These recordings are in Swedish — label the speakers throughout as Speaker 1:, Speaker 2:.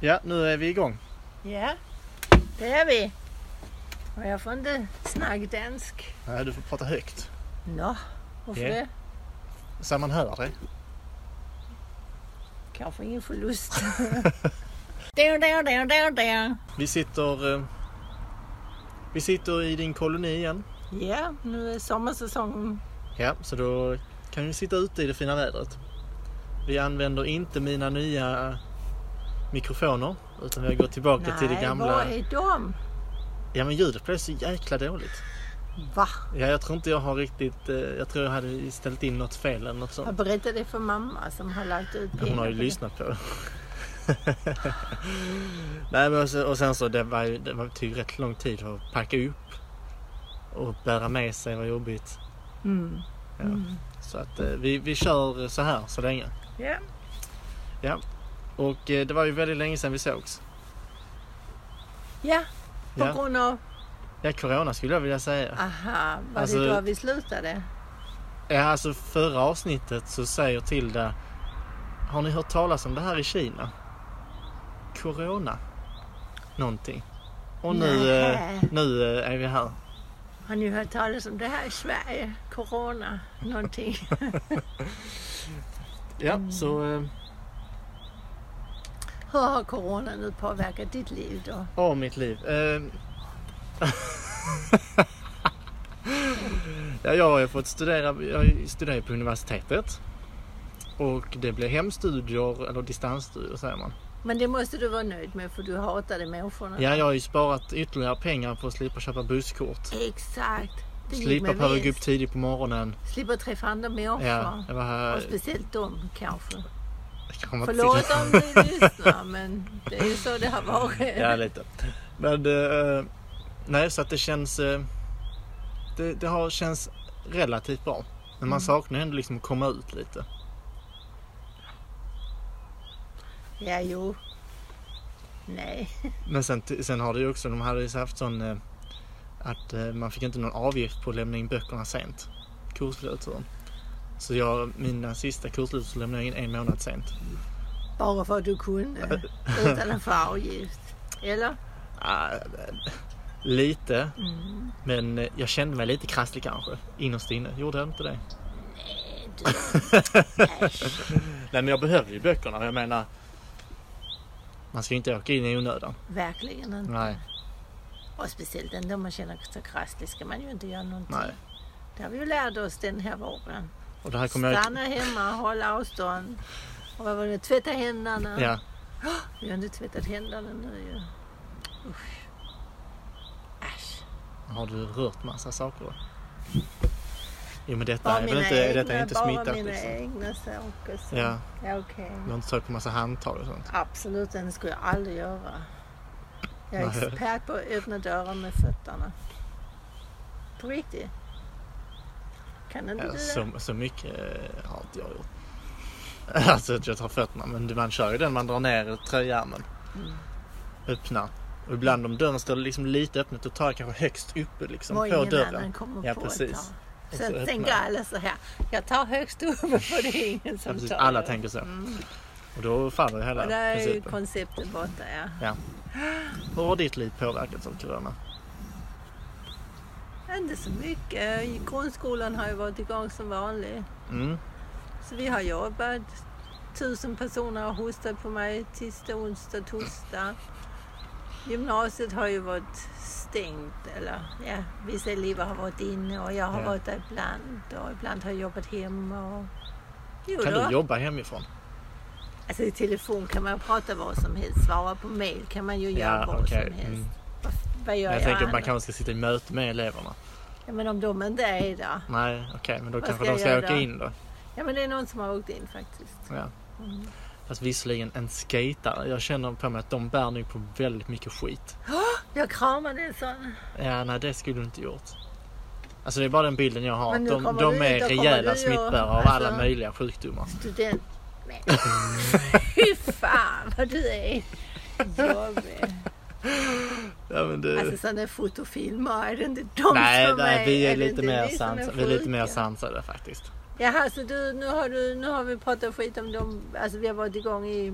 Speaker 1: Ja, nu är vi igång.
Speaker 2: Ja, det är vi. Och jag får inte snaggdansk.
Speaker 1: Nej, du får prata högt.
Speaker 2: Nå, varför
Speaker 1: Ja.
Speaker 2: det?
Speaker 1: Så man hör dig.
Speaker 2: Kanske ingen förlust. där, där, där, där, där.
Speaker 1: Vi sitter... eh, Vi sitter i din koloni igen.
Speaker 2: Ja, nu är sommarsäsongen.
Speaker 1: Ja, så då kan vi sitta ute i det fina vädret. Vi använder inte mina nya mikrofoner, utan vi har gått tillbaka till det
Speaker 2: Nej,
Speaker 1: gamla.
Speaker 2: var är de?
Speaker 1: Ja, men ljudet blev så jäkla dåligt.
Speaker 2: Va?
Speaker 1: Ja, jag tror inte jag har riktigt... eh, Jag tror jag hade ställt in något fel eller något sånt.
Speaker 2: Jag berättade det för mamma som har lagt ut pengar.
Speaker 1: Hon har ju
Speaker 2: på det.
Speaker 1: lyssnat på det. Nej, men och, sen, och sen så det var ju, det var, tog ju rätt lång tid att packa upp och bära med sig var jobbigt.
Speaker 2: Mm.
Speaker 1: Ja. Så att eh, vi, vi kör så här så länge.
Speaker 2: Ja.
Speaker 1: Och eh, det var ju väldigt länge sedan vi sågs.
Speaker 2: ja, på
Speaker 1: Ja,
Speaker 2: grund av...
Speaker 1: ja corona skulle jag vilja säga.
Speaker 2: Aha, var
Speaker 1: Alltså-
Speaker 2: det då vi slutade?
Speaker 1: Ja, alltså förra avsnittet så säger Tilda Har ni hört talas om det här i Kina? Corona? Någonting. Och nu, eh,
Speaker 2: Nej.
Speaker 1: nu eh, är vi här.
Speaker 2: Har ni hört talas om det här i Sverige? Corona, någonting.
Speaker 1: Ja,
Speaker 2: Mm.
Speaker 1: så eh,
Speaker 2: Hur har corona nu påverkat ditt liv då?
Speaker 1: Åh, mitt liv. Eh, ja, jag har ju fått studera, jag studerar ju på universitetet. Och det blir hemstudier, eller distansstudier säger man.
Speaker 2: Men det måste du vara nöjd med för du hatade människorna.
Speaker 1: Ja, jag har ju sparat ytterligare pengar på att slippa köpa busskort.
Speaker 2: Exakt. Det gick
Speaker 1: Slippa
Speaker 2: med
Speaker 1: behöva gå upp
Speaker 2: vinst.
Speaker 1: tidigt på morgonen.
Speaker 2: Slippa träffa andra människor.
Speaker 1: Ja, jag var här.
Speaker 2: Och speciellt dem kanske.
Speaker 1: jag kan inte
Speaker 2: Förlåt
Speaker 1: tycka-
Speaker 2: om du lyssnar men det är ju så det har varit.
Speaker 1: Ja, lite. Men eh, nej, så att det känns... eh, det, det har känns relativt bra. Men man saknar ju ändå liksom att komma ut lite.
Speaker 2: ja jo. Nej.
Speaker 1: Men sen, sen har det ju också, de hade ju så haft sån eh, att eh, man fick inte någon avgift på att lämna in böckerna sent. Kurslöturen. Så jag, mina sista kurslut så lämnade jag in en månad sent.
Speaker 2: Bara för att du kunde. Utan att få avgift. Eller?
Speaker 1: Ah, eh, lite, men eh, jag kände mig lite krasslig kanske. Innerst inne. Gjorde jag inte det?
Speaker 2: Äsch.
Speaker 1: Nej men jag behövde ju böckerna. Jag menar, man ska ju inte åka in i onödan.
Speaker 2: Verkligen inte.
Speaker 1: Nej.
Speaker 2: Och speciellt inte om man känner sig krasslig ska man ju inte göra någonting.
Speaker 1: Nej.
Speaker 2: Det har vi ju lärt oss den här våren.
Speaker 1: Och det här kommer jag...
Speaker 2: Stanna hemma, hålla avstånd. Och vad var det? Tvätta händerna.
Speaker 1: Ja.
Speaker 2: Vi har inte tvättat händerna nu ju. Usch. Äsch.
Speaker 1: Har du rört massa saker då? Jo men detta
Speaker 2: Bara
Speaker 1: är väl
Speaker 2: mina
Speaker 1: inte, detta är
Speaker 2: egna-
Speaker 1: inte
Speaker 2: bara
Speaker 1: smittat
Speaker 2: mina
Speaker 1: liksom.
Speaker 2: egna saker. Så.
Speaker 1: Ja,
Speaker 2: ja okej.
Speaker 1: du har inte tagit på massa handtag och sånt.
Speaker 2: Absolut, den skulle jag aldrig göra. Jag är
Speaker 1: Nej.
Speaker 2: expert på att öppna dörrar med fötterna. På riktigt. Kan
Speaker 1: Ja,
Speaker 2: inte du det?
Speaker 1: Eh, Så, så mycket eh, har inte jag gjort. Alltså att jag tar fötterna. Men man kör ju den man drar ner tröjärmen.
Speaker 2: Mm.
Speaker 1: Öppnar. Och ibland om dörren står liksom lite öppnet då tar jag kanske högst uppe liksom
Speaker 2: Vad
Speaker 1: på
Speaker 2: ingen annan
Speaker 1: dörren.
Speaker 2: kommer
Speaker 1: Ja
Speaker 2: på
Speaker 1: precis.
Speaker 2: att
Speaker 1: Och så
Speaker 2: ta. Så att
Speaker 1: öppnar
Speaker 2: tänker
Speaker 1: jag.
Speaker 2: alla så här. Jag tar högst upp för det är ingen
Speaker 1: Ja,
Speaker 2: som
Speaker 1: precis. Alltså,
Speaker 2: tar Mm.
Speaker 1: Alla
Speaker 2: det.
Speaker 1: tänker så. Och då faller ju hela
Speaker 2: Och där är ju
Speaker 1: principen.
Speaker 2: konceptet borta ja.
Speaker 1: Hur har ditt liv påverkats av corona?
Speaker 2: Inte så mycket. Grundskolan har ju varit igång som vanligt.
Speaker 1: Mm.
Speaker 2: Så vi har jobbat. Tusen personer har hostat på mig tisdag, onsdag, torsdag. Gymnasiet har ju varit stängt. Eller, ja, vissa elever har varit inne och jag har
Speaker 1: Ja.
Speaker 2: varit där ibland. Och ibland har jag jobbat hemma. Och... Jo
Speaker 1: Kan
Speaker 2: då.
Speaker 1: du jobba hemifrån?
Speaker 2: Alltså i telefon kan man prata vad som helst. Svara på mail kan man ju göra
Speaker 1: Ja,
Speaker 2: vad
Speaker 1: okej.
Speaker 2: som helst.
Speaker 1: Mm.
Speaker 2: Vad, vad gör
Speaker 1: Men
Speaker 2: jag,
Speaker 1: jag tänker att man
Speaker 2: annars?
Speaker 1: kanske ska sitta i möte med eleverna.
Speaker 2: ja, men om de inte är där.
Speaker 1: Nej, okej, men då
Speaker 2: Vad
Speaker 1: kanske
Speaker 2: ska
Speaker 1: de
Speaker 2: jag
Speaker 1: ska
Speaker 2: göra
Speaker 1: åka
Speaker 2: då?
Speaker 1: in då.
Speaker 2: Ja men det är någon som har åkt in faktiskt.
Speaker 1: Ja. Fast visserligen en skatare. Jag känner på mig att de bär nu på väldigt mycket skit.
Speaker 2: Jag kramade en sån.
Speaker 1: Ja, nej det skulle du inte gjort. Alltså det är bara den bilden jag har.
Speaker 2: Men nu
Speaker 1: De,
Speaker 2: kommer
Speaker 1: de
Speaker 2: du
Speaker 1: är
Speaker 2: hit och kommer du
Speaker 1: rejäla
Speaker 2: och-
Speaker 1: smittbärare av
Speaker 2: alltså-
Speaker 1: alla möjliga sjukdomar.
Speaker 2: Student. Men fy fan vad du är jobbig.
Speaker 1: Ja, men det...
Speaker 2: Alltså sådana fotofilmer, är det inte de
Speaker 1: nej,
Speaker 2: som
Speaker 1: nej,
Speaker 2: är?
Speaker 1: vi är
Speaker 2: det
Speaker 1: lite
Speaker 2: inte
Speaker 1: mer,
Speaker 2: vi som är
Speaker 1: sans... vi är lite mer
Speaker 2: sjuka?
Speaker 1: sansade faktiskt.
Speaker 2: Jaha, så du, nu, har du, nu har vi pratat skit om dem. Alltså vi har varit igång i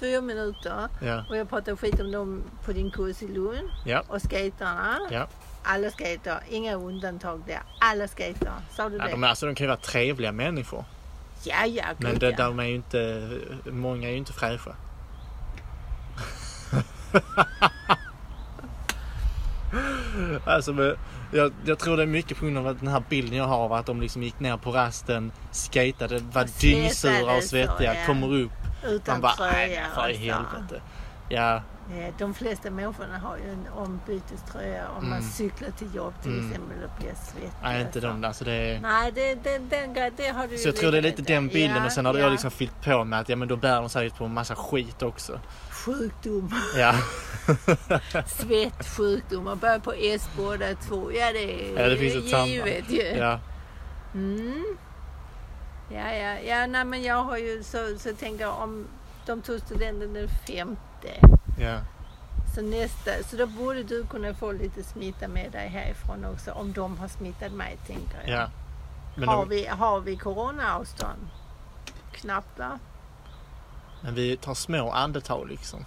Speaker 2: fyra minuter
Speaker 1: Ja.
Speaker 2: och jag pratar skit om dem på din kurs i Lund
Speaker 1: Ja.
Speaker 2: och skaterna.
Speaker 1: Ja.
Speaker 2: Alla skater, inga undantag där. Alla skater. Sa du
Speaker 1: Ja,
Speaker 2: det?
Speaker 1: de, är- alltså, de kan ju vara trevliga människor.
Speaker 2: Ja, ja, gud,
Speaker 1: Men det,
Speaker 2: ja.
Speaker 1: de är ju inte, många är ju inte fräscha. alltså, men jag, jag tror det är mycket på grund av att den här bilden jag har av att de liksom gick ner på rasten, skatade, var
Speaker 2: Och svettades
Speaker 1: dyngsura och
Speaker 2: Alltså, så,
Speaker 1: svettiga,
Speaker 2: ja.
Speaker 1: kommer upp. Man
Speaker 2: Utan
Speaker 1: bara,
Speaker 2: tröja
Speaker 1: nej men för i
Speaker 2: och så."
Speaker 1: helvete. Ja,
Speaker 2: Ja, Eh, De flesta människorna har ju en ombyteströja om man
Speaker 1: Mm.
Speaker 2: cyklar till jobb till
Speaker 1: Mm.
Speaker 2: exempel och blir svettig.
Speaker 1: nej inte
Speaker 2: och så.
Speaker 1: de, alltså det är...
Speaker 2: Nej, det, det, den grej- det har du ju
Speaker 1: Så jag tror det är lite
Speaker 2: rätt i.
Speaker 1: den bilden
Speaker 2: ja,
Speaker 1: och sen har
Speaker 2: ja.
Speaker 1: jag liksom fyllt på med att ja men då bär de säkert på en massa skit också.
Speaker 2: Sjukdom,
Speaker 1: Ja,
Speaker 2: svett, sjukdom och börjar på S båda två. Ja, det är
Speaker 1: Ja, det finns ett samband.
Speaker 2: givet ju.
Speaker 1: ja.
Speaker 2: Mm. Ja, ja, ja, nej men jag har ju så, så tänker jag om de tog studenten den femte.
Speaker 1: ja.
Speaker 2: Så, nästa, så då borde du kunna få lite smitta med dig härifrån också om de har smittat mig tänker jag.
Speaker 1: ja. Men,
Speaker 2: har,
Speaker 1: de,
Speaker 2: vi, har vi coronaavstånd? Knappt va?
Speaker 1: men vi tar små andetag liksom.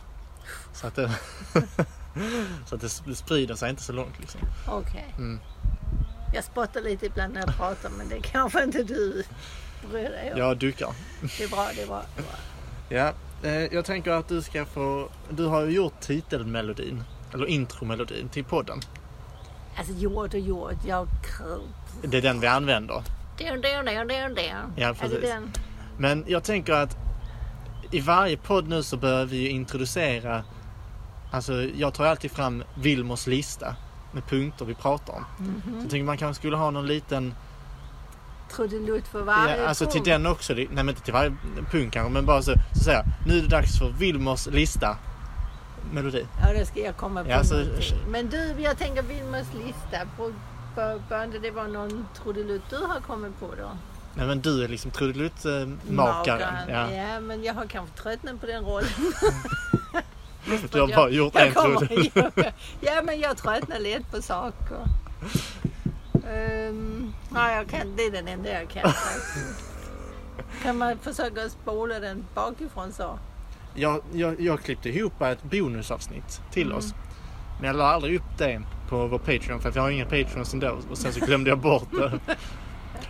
Speaker 1: Så att det, så att det sprider sig inte så långt liksom.
Speaker 2: Okej.
Speaker 1: Mm.
Speaker 2: Jag spottar lite ibland när jag pratar men det kanske inte du bryr dig om.
Speaker 1: Jag duckar.
Speaker 2: Det är bra, det är bra. det är bra.
Speaker 1: Ja, eh, jag tänker att du ska få... Du har ju gjort titelmelodin, eller intromelodin till podden.
Speaker 2: Alltså jord och jord, jag kröp.
Speaker 1: Det är den vi använder.
Speaker 2: Dun, dun, dun, dun, dun.
Speaker 1: Ja,
Speaker 2: Är det
Speaker 1: precis.
Speaker 2: den?
Speaker 1: Men jag tänker att i varje podd nu så börjar vi ju introducera... Alltså jag tar ju alltid fram Wilmers lista med punkter vi pratar om. Så jag tänker man kanske skulle ha någon liten...
Speaker 2: Trudelutt för varje
Speaker 1: Ja, alltså till
Speaker 2: punkt.
Speaker 1: den också. det- Nej men inte till varje punkt kanske men bara så, så säger jag, Nu är det dags för Wilmers lista. Melodi.
Speaker 2: Ja, det ska jag komma på
Speaker 1: Ja, alltså-
Speaker 2: någonting. Men du, jag tänker Wilmers lista. Bör- Bör bör inte det vara någon trudelutt du har kommit på då?
Speaker 1: Nej men du är liksom trudelutt-makaren.
Speaker 2: Ja.
Speaker 1: Ja.
Speaker 2: men jag har kanske tröttnat på den rollen.
Speaker 1: Du har bara gjort en trudelutt.
Speaker 2: trudelutt. ja, men jag tröttnar lätt på saker. Um, nej, jag kan, det är den enda jag kan faktiskt. Kan man försöka spola den bakifrån så?
Speaker 1: Jag, jag, jag klippte ihop ett bonusavsnitt till oss. Men jag la aldrig upp det på vår Patreon för att jag har inga Patreons ändå. Och sen så glömde jag bort det.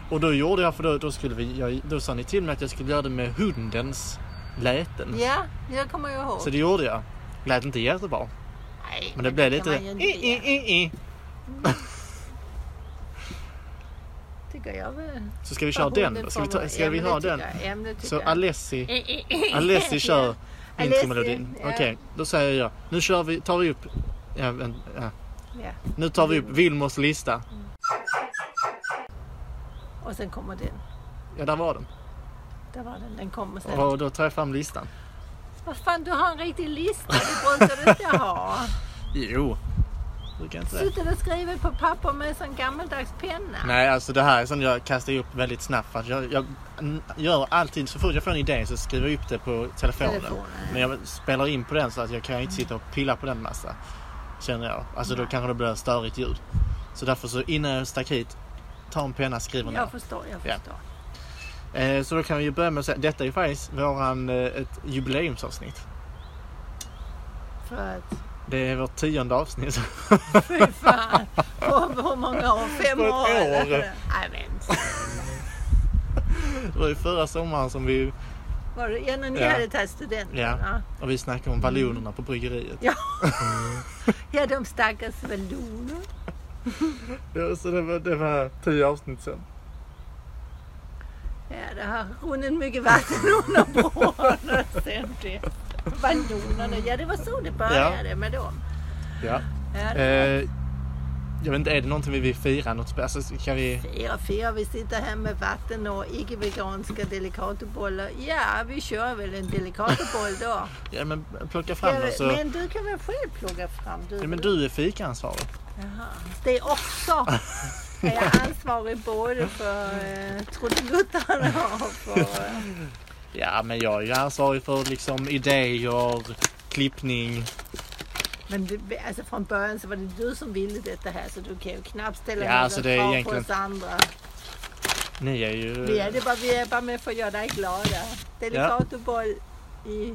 Speaker 1: Och då gjorde jag, för då, då, skulle vi, jag, då sa ni till mig att jag skulle göra det med hundens läten.
Speaker 2: Ja, jag kommer ju ihåg.
Speaker 1: Så det gjorde jag. Lät inte jättebra.
Speaker 2: Nej,
Speaker 1: Men det blev
Speaker 2: kan
Speaker 1: lite...
Speaker 2: man ju inte
Speaker 1: I, i,
Speaker 2: begära.
Speaker 1: i, i.
Speaker 2: Tycker jag väl.
Speaker 1: Så ska vi köra den då? Ska vi, ta, ska vi ha den? Så Alessi, Alessi kör
Speaker 2: Alessi,
Speaker 1: intromelodin.
Speaker 2: ja.
Speaker 1: Okej, då säger jag. Nu kör vi, tar vi upp... Ja, vänta, ja.
Speaker 2: Ja.
Speaker 1: Nu tar vi upp Wilmers lista.
Speaker 2: Och sen kommer den.
Speaker 1: Ja, där var den.
Speaker 2: Där var den. Den kommer sen.
Speaker 1: Och då tar jag fram listan.
Speaker 2: Vad fan, du har en riktig lista. Det brukar du inte ha.
Speaker 1: Jo. Brukar jag inte det?
Speaker 2: Sitter du och skriver på papper med en gammaldags penna?
Speaker 1: Nej, alltså det här är som jag kastar upp väldigt snabbt. För att jag, jag n- gör alltid, så fort jag får en idé så skriver jag upp det på telefonen.
Speaker 2: Telefonen, ja.
Speaker 1: Men jag spelar in på den så att jag kan ju inte sitta och pilla på den massa. Känner jag. Alltså då kanske det blir störigt ljud. Så därför så innan jag stack hit, ta en penna, skriv ner.
Speaker 2: Jag förstår, jag
Speaker 1: Ja.
Speaker 2: förstår.
Speaker 1: Eh, så då kan vi ju börja med att säga, detta är ju faktiskt våran, eh, ett jubileumsavsnitt.
Speaker 2: För att,
Speaker 1: Det är vårt tionde avsnitt.
Speaker 2: fy fan. På hur många år? Fem
Speaker 1: På ett
Speaker 2: år? eller?
Speaker 1: år.
Speaker 2: Nej, men.
Speaker 1: det var ju förra sommaren som vi
Speaker 2: Var det ja, när ni
Speaker 1: Ja.
Speaker 2: hade tagit studenten?
Speaker 1: Ja.
Speaker 2: va?
Speaker 1: Och vi snackar
Speaker 2: Mm.
Speaker 1: om vallonerna på bryggeriet.
Speaker 2: Ja. ja, de stackars valloner.
Speaker 1: Ja, så det var, det var tio avsnitt sen.
Speaker 2: Ja, det har runnit mycket vatten under broarna sen det. Vallonerna, ja det var så det började med dem.
Speaker 1: Ja.
Speaker 2: Ja, det
Speaker 1: Eh, jag vet inte, är det någonting vi vill fira? Något spe- alltså, kan vi...
Speaker 2: var Fyra, fyra, vi sitter här med vatten och icke-veganska delikatobollar. Ja, vi kör väl en delikatoboll då.
Speaker 1: Ja, men plocka fram
Speaker 2: Ja,
Speaker 1: den så...
Speaker 2: men du kan väl själv plocka fram? Du,
Speaker 1: Ja, men du är fikaansvarig.
Speaker 2: Jaha. Det är också. Är jag ansvarig både för eh, trudeluttarna och för... Eh,
Speaker 1: Ja, men jag är ju ansvarig för liksom idéer, klippning.
Speaker 2: Men det, alltså från början så var det du som ville detta här så du kan ju knappt ställa
Speaker 1: Ja,
Speaker 2: några
Speaker 1: alltså det är
Speaker 2: krav
Speaker 1: egentligen-
Speaker 2: på oss andra.
Speaker 1: Ni är ju...
Speaker 2: Vi är, det bara, vi är bara med för att göra dig glada. Delikatoboll i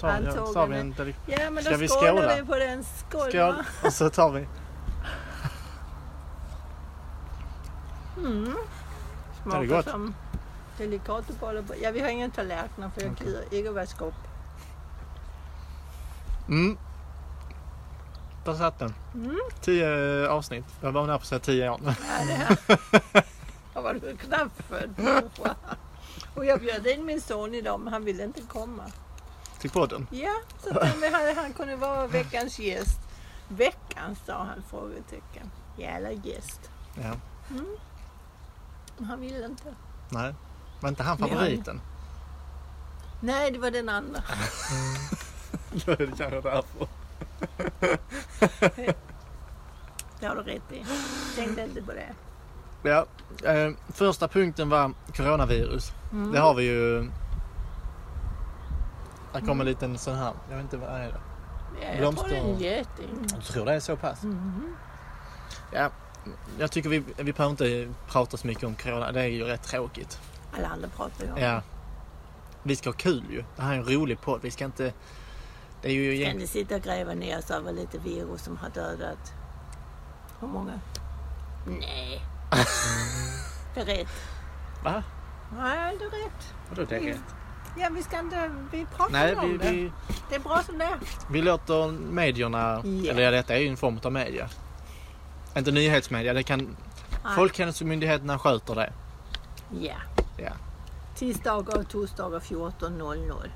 Speaker 1: tar, jag,
Speaker 2: Antagligen.
Speaker 1: tar vi en delik-
Speaker 2: Ja, men
Speaker 1: Ska
Speaker 2: då
Speaker 1: vi
Speaker 2: skålar
Speaker 1: skåla?
Speaker 2: vi på den. Skål!
Speaker 1: skål
Speaker 2: va?
Speaker 1: och så tar vi.
Speaker 2: Mm.
Speaker 1: Det är gott.
Speaker 2: som delikatboller på. Ja, vi har ingen tallerkener för jag
Speaker 1: Okej.
Speaker 2: gider ikke vaske upp.
Speaker 1: Mm. Där satt den.
Speaker 2: Mm.
Speaker 1: Tio avsnitt. Jag var nära på att säga tio år.
Speaker 2: Ja, det här. Jag var ju knappt född. Och jag bjöd in min son idag, men han ville inte komma.
Speaker 1: Till podden.
Speaker 2: Ja, så att han, han- han kunde vara veckans gäst. Veckans, sa han frågetecken. Jävla gäst. Mm.
Speaker 1: Ja.
Speaker 2: Men han ville inte.
Speaker 1: Nej. Var inte han
Speaker 2: Ja.
Speaker 1: favoriten?
Speaker 2: Nej, det var den andra.
Speaker 1: Då är det kanske därför.
Speaker 2: Det har du rätt i. Tänkte inte på det.
Speaker 1: Ja. Eh, första punkten var coronavirus.
Speaker 2: Mm.
Speaker 1: Det har vi ju. Där kom en liten sån här. Jag vet inte vad är det
Speaker 2: Ja, jag tror
Speaker 1: blomster-
Speaker 2: det är en geting.
Speaker 1: Jag tror det är så pass.
Speaker 2: Mhm.
Speaker 1: Mm-hmm. Ja. Jag tycker vi, vi behöver inte prata så mycket om corona. Det är ju rätt tråkigt.
Speaker 2: Alla andra pratar ju om
Speaker 1: Ja. Vi ska ha kul ju. Det här är en rolig podd. Vi ska inte... Det är ju
Speaker 2: Kan
Speaker 1: egentligen...
Speaker 2: ni sitta och gräva ner oss över lite virus som har dödat? Hur många? Nej. det är rätt.
Speaker 1: Va?
Speaker 2: Nej, det är rätt.
Speaker 1: Vadå det är rätt?
Speaker 2: Ja, vi ska inte... Vi pratar
Speaker 1: Nej,
Speaker 2: om
Speaker 1: vi,
Speaker 2: det.
Speaker 1: vi,
Speaker 2: Det är bra som det är.
Speaker 1: vi låter medierna...
Speaker 2: Ja.
Speaker 1: Eller ja, detta är ju en form av media. Inte nyhetsmedia. Det kan...
Speaker 2: Nej.
Speaker 1: Folkhälsomyndigheterna sköter det.
Speaker 2: Ja.
Speaker 1: Ja.
Speaker 2: Tisdagar och torsdagar 14.00.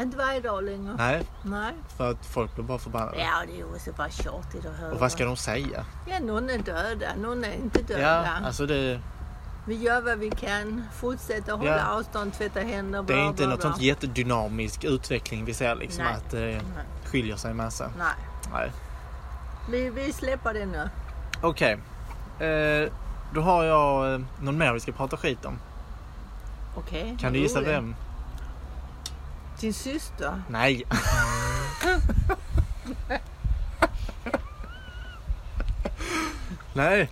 Speaker 2: Inte varje dag längre.
Speaker 1: Nej,
Speaker 2: Nej.
Speaker 1: för att folk blir bara förbannade.
Speaker 2: Ja, det är ju också bara tjatigt att höra.
Speaker 1: Och vad ska de säga?
Speaker 2: Ja, någon är döda, någon är inte döda.
Speaker 1: Ja, alltså det,
Speaker 2: Vi gör vad vi kan, fortsätter hålla
Speaker 1: Ja.
Speaker 2: avstånd, tvätta händer,
Speaker 1: det
Speaker 2: bla,
Speaker 1: är inte
Speaker 2: bla,
Speaker 1: något
Speaker 2: bla.
Speaker 1: sånt jättedynamisk utveckling vi ser liksom
Speaker 2: Nej.
Speaker 1: att det
Speaker 2: Nej.
Speaker 1: skiljer sig massa.
Speaker 2: Nej,
Speaker 1: Nej.
Speaker 2: vi, vi släpper det nu.
Speaker 1: Okej. Eh, då har jag eh, någon mer vi ska prata skit om.
Speaker 2: Okej.
Speaker 1: Kan du gissa
Speaker 2: roligt.
Speaker 1: vem?
Speaker 2: Din syster.
Speaker 1: Nej. Nej.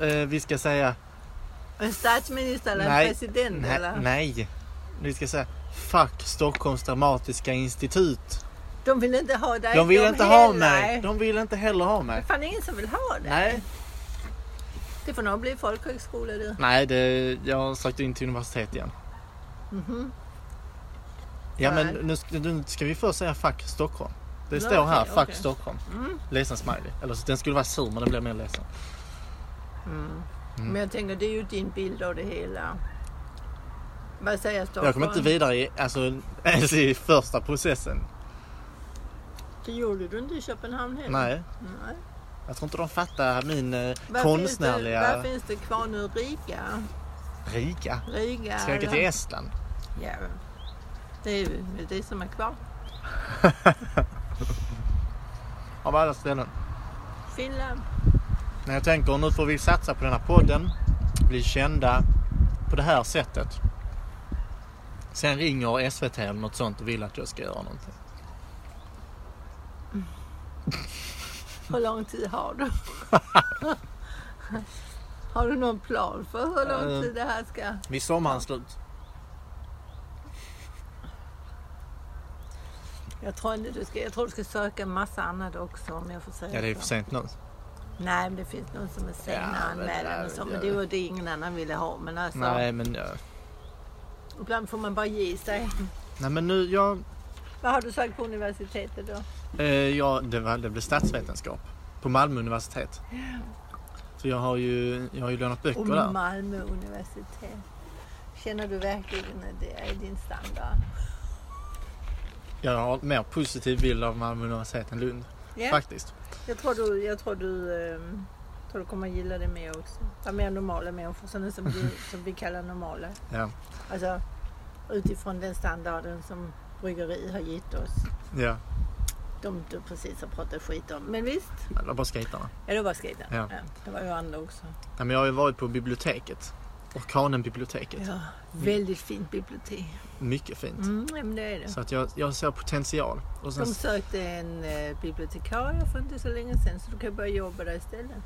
Speaker 1: Eh, vi ska säga...
Speaker 2: En statsminister eller
Speaker 1: Nej.
Speaker 2: en president
Speaker 1: Nej,
Speaker 2: eller?
Speaker 1: nej. Vi ska säga Fuck Stockholms Dramatiska Institut.
Speaker 2: De vill inte ha dig.
Speaker 1: De vill inte ha
Speaker 2: heller.
Speaker 1: mig. De vill inte heller ha
Speaker 2: Det är
Speaker 1: mig.
Speaker 2: fan ingen som vill ha dig.
Speaker 1: Nej.
Speaker 2: Det får nog bli folkhögskola du.
Speaker 1: Nej, det, jag har sökt in till universitet igen.
Speaker 2: Mhm.
Speaker 1: Ja, men
Speaker 2: Nej.
Speaker 1: nu, ska- nu ska vi först säga Fuck Stockholm. Det
Speaker 2: Ja,
Speaker 1: står här,
Speaker 2: okej,
Speaker 1: Fuck
Speaker 2: okej.
Speaker 1: Stockholm.
Speaker 2: Mm.
Speaker 1: Ledsen smiley. Eller så- den skulle vara sur men den blev mer ledsen.
Speaker 2: Mm. Men jag tänker det är ju din bild av det hela. Vad säger Stockholm? Mm.
Speaker 1: Jag kom inte vidare i, alltså, ens i första processen.
Speaker 2: Det gjorde du inte i Köpenhamn heller.
Speaker 1: Nej,
Speaker 2: Nej.
Speaker 1: jag tror inte de fattar min eh,
Speaker 2: Vad Finns det,
Speaker 1: konstnärliga
Speaker 2: vad finns det kvar nu? Riga?
Speaker 1: Riga.
Speaker 2: Riga?
Speaker 1: Ska jag åka
Speaker 2: eller?
Speaker 1: till Estland?
Speaker 2: Ja, det är ju det som är kvar.
Speaker 1: Av alla ställen.
Speaker 2: Finland.
Speaker 1: Men jag tänker nu får vi satsa på den här podden. Bli kända på det här sättet. Sen ringer SVT eller något sånt och vill att jag ska göra någonting.
Speaker 2: Hur lång tid har du? har du någon plan för hur lång
Speaker 1: Eh.
Speaker 2: tid det här ska...
Speaker 1: Vid sommarens slut.
Speaker 2: Jag tror, inte du ska... jag tror du ska söka en massa annat också om jag får säga
Speaker 1: Ja, det är för sent nu.
Speaker 2: Nej, men det finns någon som är
Speaker 1: Ja,
Speaker 2: sena
Speaker 1: men
Speaker 2: anmälan
Speaker 1: där-
Speaker 2: och så. Men
Speaker 1: ja.
Speaker 2: det var det ingen annan ville ha. Men alltså,
Speaker 1: Nej, men, jag-
Speaker 2: ibland får man bara ge sig.
Speaker 1: nej, men nu... Jag,
Speaker 2: Vad har du sökt på universitetet då?
Speaker 1: eh, jag, det, var, det blev statsvetenskap på Malmö universitet. Så jag har ju, jag har ju lånat böcker
Speaker 2: Och
Speaker 1: där.
Speaker 2: Malmö universitet. Känner du verkligen att det är din standard?
Speaker 1: Jag har en mer positiv bild av Malmö universitet än Lund.
Speaker 2: Ja.
Speaker 1: Faktiskt.
Speaker 2: Jag tror du, jag tror du, ehm, tror du kommer gilla det mer också. De mer normala människor, sådana som vi, som vi kallar normala.
Speaker 1: Ja.
Speaker 2: Alltså utifrån den standarden som bryggeri har gett oss.
Speaker 1: Ja.
Speaker 2: De du precis har pratat skit om. Men visst,
Speaker 1: Det var bara skejtarna.
Speaker 2: ja det var skrivet.
Speaker 1: Ja.
Speaker 2: det var ju andra också.
Speaker 1: Ja, men jag har ju varit på biblioteket. Orkanenbiblioteket.
Speaker 2: Ja,
Speaker 1: Mm.
Speaker 2: väldigt fint bibliotek.
Speaker 1: Mycket fint.
Speaker 2: Mm, ja, men det är det.
Speaker 1: Så att jag, jag ser potential. Och sen,
Speaker 2: De sökte en eh, bibliotekarie för inte så länge sedan så du kan börja jobba där istället.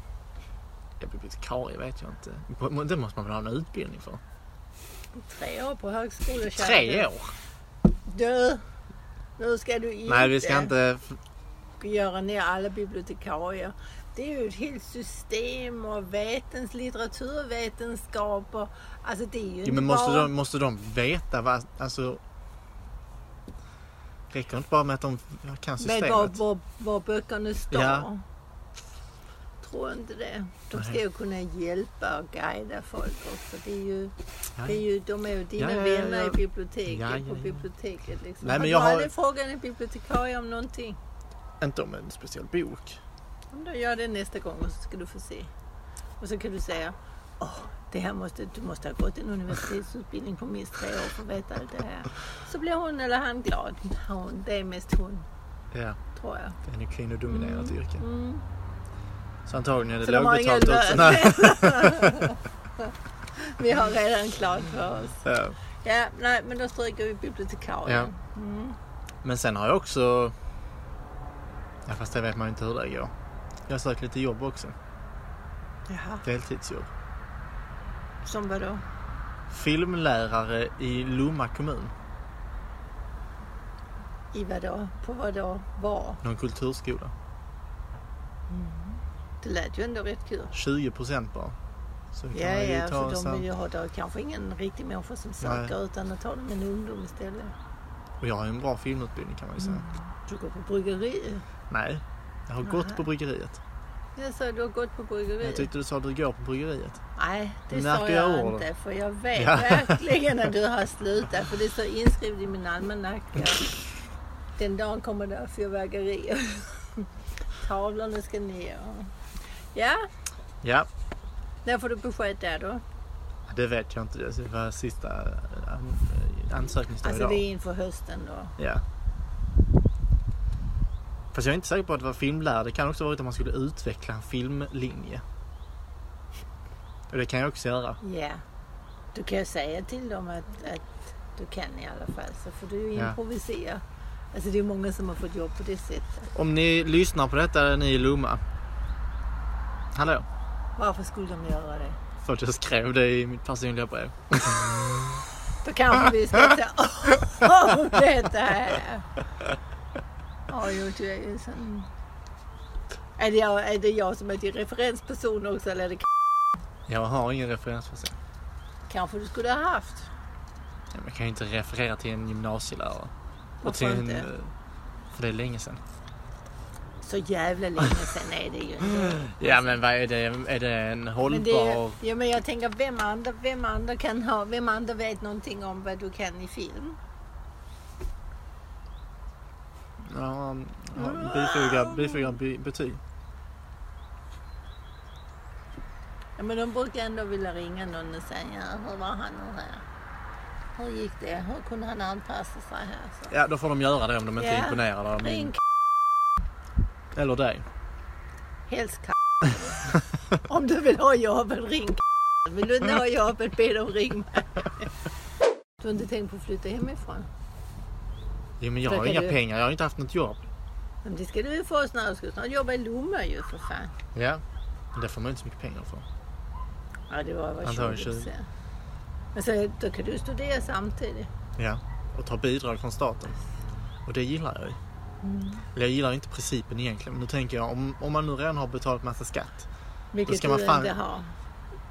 Speaker 1: ja, bibliotekarie vet jag inte. Det måste man väl ha en utbildning för?
Speaker 2: Tre år på högskola. kära du.
Speaker 1: Tre år?
Speaker 2: Du, Nu ska du inte
Speaker 1: Nej, vi ska inte...
Speaker 2: göra ner alla bibliotekarier. Det är ju ett helt system och vetens, litteraturvetenskap och... Alltså det är ju
Speaker 1: Jo,
Speaker 2: inte
Speaker 1: men måste
Speaker 2: bara...
Speaker 1: de, måste de veta vad... Alltså... Räcker det inte bara med att de kan
Speaker 2: Med var,
Speaker 1: systemet?
Speaker 2: var, var böckerna står.
Speaker 1: Ja.
Speaker 2: Tror inte det. De ska
Speaker 1: Nej.
Speaker 2: ju kunna hjälpa och guida folk också. Det är ju,
Speaker 1: Ja.
Speaker 2: det är ju, de är ju
Speaker 1: Ja,
Speaker 2: dina
Speaker 1: ja, ja,
Speaker 2: vänner i
Speaker 1: ja.
Speaker 2: biblioteket.
Speaker 1: Ja, ja,
Speaker 2: På
Speaker 1: ja.
Speaker 2: biblioteket liksom.
Speaker 1: Nej, men
Speaker 2: du
Speaker 1: jag har-
Speaker 2: aldrig frågat en bibliotekarie om någonting?
Speaker 1: Inte om en speciell bok.
Speaker 2: Om du gör det nästa gång och så ska du få se. Och så kan du säga, åh, det här måste, du måste ha gått en universitetsutbildning på minst tre år för att veta allt det här. Så blir hon eller han glad. Hon, det är mest hon,
Speaker 1: Ja,
Speaker 2: tror jag.
Speaker 1: det är en kvinnodominerat yrke.
Speaker 2: Mm.
Speaker 1: Så antagligen är
Speaker 2: Så
Speaker 1: det
Speaker 2: de har ingen
Speaker 1: lågbetalt också.
Speaker 2: lön.
Speaker 1: Nej.
Speaker 2: Vi har redan klart för oss.
Speaker 1: Ja.
Speaker 2: Ja, nej, men då stryker vi bibliotekarien.
Speaker 1: Men sen har jag också... Ja, fast det vet man ju inte hur det går. Jag har sökt lite jobb också.
Speaker 2: Jaha.
Speaker 1: Deltidsjobb.
Speaker 2: Som vadå?
Speaker 1: Filmlärare i Lomma kommun.
Speaker 2: I vadå? På vadå? Var?
Speaker 1: Någon kulturskola.
Speaker 2: Det lät ju ändå rätt kul.
Speaker 1: 20 procent bara. Så kan
Speaker 2: Ja,
Speaker 1: man ju
Speaker 2: ja,
Speaker 1: ta
Speaker 2: för de
Speaker 1: sen-
Speaker 2: vill ju ha, det är kanske ingen riktig människa som söker utan att ta dem en ungdom istället.
Speaker 1: Och jag har ju en bra filmutbildning kan man ju säga.
Speaker 2: Du går på bryggeri.
Speaker 1: Nej, jag har
Speaker 2: Nej.
Speaker 1: gått på bryggeriet.
Speaker 2: Jag sa du har gått på bryggeri.
Speaker 1: Jag tyckte du sa att du går på bryggeriet.
Speaker 2: Nej, det
Speaker 1: Märker
Speaker 2: sa jag
Speaker 1: jag orden?
Speaker 2: inte. För jag vet
Speaker 1: Ja.
Speaker 2: verkligen när du har slutat. För det står inskrivet i min almanacka. Den dagen kommer det fyrverkerier. Tavlorna ska ner. Ja,
Speaker 1: Ja,
Speaker 2: när får du besked där då?
Speaker 1: det vet jag inte. Det var sista eh, an- ansökningsdag
Speaker 2: Alltså
Speaker 1: idag.
Speaker 2: det är inför hösten då.
Speaker 1: Ja. Fast jag är inte säker på att det var filmlärare. Det kan också vara att man skulle utveckla en filmlinje. Och det kan jag också göra.
Speaker 2: Ja. Du kan ju säga till dem att, att du kan i alla fall. Så får du ju
Speaker 1: Ja.
Speaker 2: improvisera. Alltså det är många som har fått jobb på det sättet.
Speaker 1: Om ni lyssnar på detta, ni i Lomma. Hallå?
Speaker 2: Varför skulle de göra det?
Speaker 1: För att jag skrev det i mitt personliga brev.
Speaker 2: Då kanske vi ska ta om detta här. Ja, jo, du är ju en sån... mm. Är det, jag, är det jag som är din referensperson också eller är det k-
Speaker 1: Jag har ingen referensperson.
Speaker 2: kanske du skulle ha haft?
Speaker 1: Ja, men Jag kan ju inte referera till en gymnasielärare. Och
Speaker 2: Varför
Speaker 1: till en,
Speaker 2: inte?
Speaker 1: eh, för det är länge sedan.
Speaker 2: Så jävla länge sedan är det ju inte.
Speaker 1: Ja men vad är det? Är det en hållbar...
Speaker 2: Men det, ja, men jag tänker, vem andra, vem, andra kan ha, vem andra vet någonting om vad du kan i film?
Speaker 1: Ja, ja,
Speaker 2: Mm.
Speaker 1: bifoga, bifoga bi- betyg.
Speaker 2: Ja, men de brukar ändå vilja ringa någon och säga, ja, hur var han nu här? Hur gick det? Hur kunde han anpassa sig här? Så.
Speaker 1: Ja då får de göra det om de inte
Speaker 2: Ja.
Speaker 1: är imponerade av
Speaker 2: Ring
Speaker 1: min... Eller dig.
Speaker 2: Helst k- Om du vill ha jobbet, ring k- Vill du inte ha jobbet, be dem ring mig. Du har inte tänkt på att flytta hemifrån?
Speaker 1: Jo men jag har
Speaker 2: Verkar
Speaker 1: inga
Speaker 2: du-
Speaker 1: pengar, jag har inte haft något jobb.
Speaker 2: Men det ska du ju få snart. Du ska snart jobba i Lomma ju för fan.
Speaker 1: Ja. Men det får man inte så mycket pengar för.
Speaker 2: Ja, det var vad
Speaker 1: Antagligen
Speaker 2: 20
Speaker 1: tjugo.
Speaker 2: procent. Men så, då kan du studera samtidigt.
Speaker 1: Ja. Och ta bidrag från staten. Och det gillar jag ju.
Speaker 2: Mm.
Speaker 1: Eller jag gillar inte principen egentligen. Men nu tänker jag om, om man nu redan har betalat massa skatt.
Speaker 2: Vilket
Speaker 1: ska man
Speaker 2: du
Speaker 1: fan-
Speaker 2: inte har.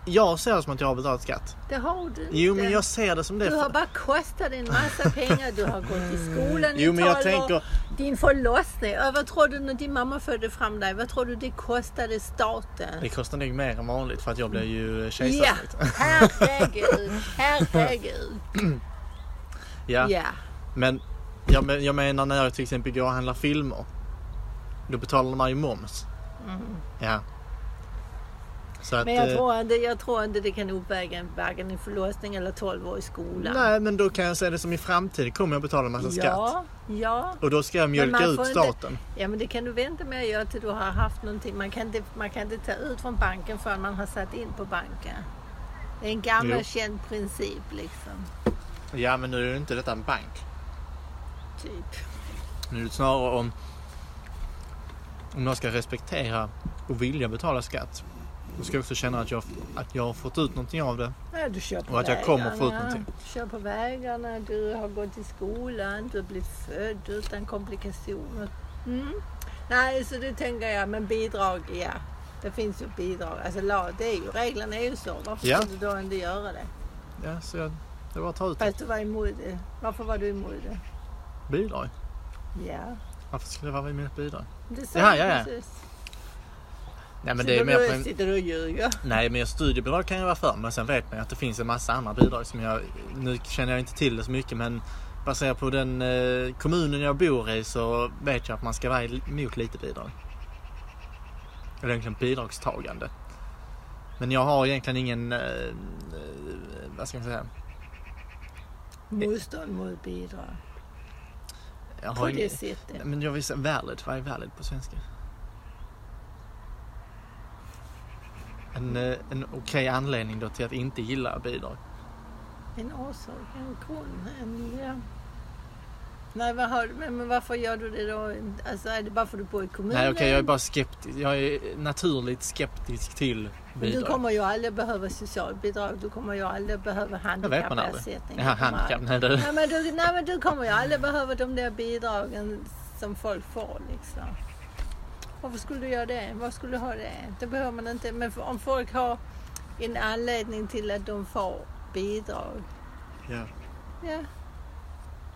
Speaker 1: Jag ser det som att jag har betalat skatt.
Speaker 2: Det har du
Speaker 1: Jo
Speaker 2: inte.
Speaker 1: men jag ser det som det.
Speaker 2: Du har bara kostat en massa pengar. Du har gått i skolan i
Speaker 1: Jo, men jag
Speaker 2: tolv år.
Speaker 1: tänker-
Speaker 2: Din förlossning. Ja, Vad tror du när din mamma födde fram dig? Vad tror du det kostade staten?
Speaker 1: Det kostar nog mer än vanligt för att jag blev ju eh,
Speaker 2: Ja,
Speaker 1: kejsarsnitt.
Speaker 2: herregud, herregud.
Speaker 1: Ja.
Speaker 2: Ja.
Speaker 1: Men jag, men jag menar när jag till exempel går och handlar filmer. Då betalar man ju moms. Ja. Så att,
Speaker 2: Mm. Men jag
Speaker 1: eh,
Speaker 2: tror, inte, jag tror inte det kan uppväga en- varken en förlossning eller 12 år i skolan.
Speaker 1: Nej men då kan jag säga det som i framtiden kommer jag betala en massa skatt.
Speaker 2: ja, ja.
Speaker 1: Och då ska jag mjölka
Speaker 2: man
Speaker 1: ut
Speaker 2: får inte-
Speaker 1: staten.
Speaker 2: ja, men det kan du vänta med att göra till du har haft någonting. Man kan inte, man kan inte ta ut från banken förrän man har satt in på banken. Det är en gammal
Speaker 1: Jo.
Speaker 2: känd princip liksom.
Speaker 1: Ja men nu är det inte detta en bank.
Speaker 2: Typ.
Speaker 1: Nu är det snarare om om jag ska respektera och vilja betala skatt. Då ska jag också känna att jag, att jag har fått ut någonting av det.
Speaker 2: Ja, du kör på
Speaker 1: Och att jag kommer få ut någonting.
Speaker 2: Du kör på vägarna, du har gått i skolan, du har blivit född utan komplikationer. Mm. Nej, så det tänker jag, men bidrag, ja. Det finns ju bidrag. Alltså la- det är ju, reglerna är ju så. Varför
Speaker 1: Ja.
Speaker 2: skulle du då inte göra det?
Speaker 1: Ja, så jag, det var att ta ut
Speaker 2: Fast du var emot det. Varför var du emot det?
Speaker 1: bidrag.
Speaker 2: Ja.
Speaker 1: Varför skulle jag vara med ett bidrag?
Speaker 2: Det sa
Speaker 1: Ja,
Speaker 2: du
Speaker 1: ja, ja.
Speaker 2: precis.
Speaker 1: Nej men,
Speaker 2: Så
Speaker 1: det är
Speaker 2: då
Speaker 1: mer på
Speaker 2: du
Speaker 1: en,
Speaker 2: sitter du och ljuger.
Speaker 1: nej men studiebidrag kan jag vara för men sen vet man ju att det finns en massa andra bidrag som jag, nu känner jag inte till det så mycket men baserat på den eh, kommunen jag bor i så vet jag att man ska vara emot lite bidrag. Eller egentligen bidragstagande. Men jag har egentligen ingen, eh, eh, vad ska man säga?
Speaker 2: Motstånd mot bidrag.
Speaker 1: Jag
Speaker 2: På
Speaker 1: har
Speaker 2: det
Speaker 1: ingen,
Speaker 2: sättet.
Speaker 1: Nej, men jag vill säga valid, vad är valid på svenska? En, eh, en okej anledning då till att inte gilla bidrag.
Speaker 2: En orsak, en grund, en... Ja. Nej, vad har, men, men varför gör du det då? Alltså, är det bara för att du bor i kommunen?
Speaker 1: Nej okej, jag är bara skeptisk. Jag är naturligt skeptisk till
Speaker 2: Men du
Speaker 1: bidrag.
Speaker 2: kommer ju aldrig behöva socialbidrag. Du kommer ju aldrig behöva
Speaker 1: vet man aldrig.
Speaker 2: handikappersättning.
Speaker 1: Jaha,
Speaker 2: Du kommer
Speaker 1: handikapp. Nej,
Speaker 2: aldrig-
Speaker 1: du.
Speaker 2: Nej men, du, nej, men du kommer ju aldrig behöva de där bidragen som folk får liksom. Varför skulle du göra det? Vad skulle du ha det? Det behöver man inte. Men för- om folk har en anledning till att de får bidrag
Speaker 1: Ja.
Speaker 2: Ja.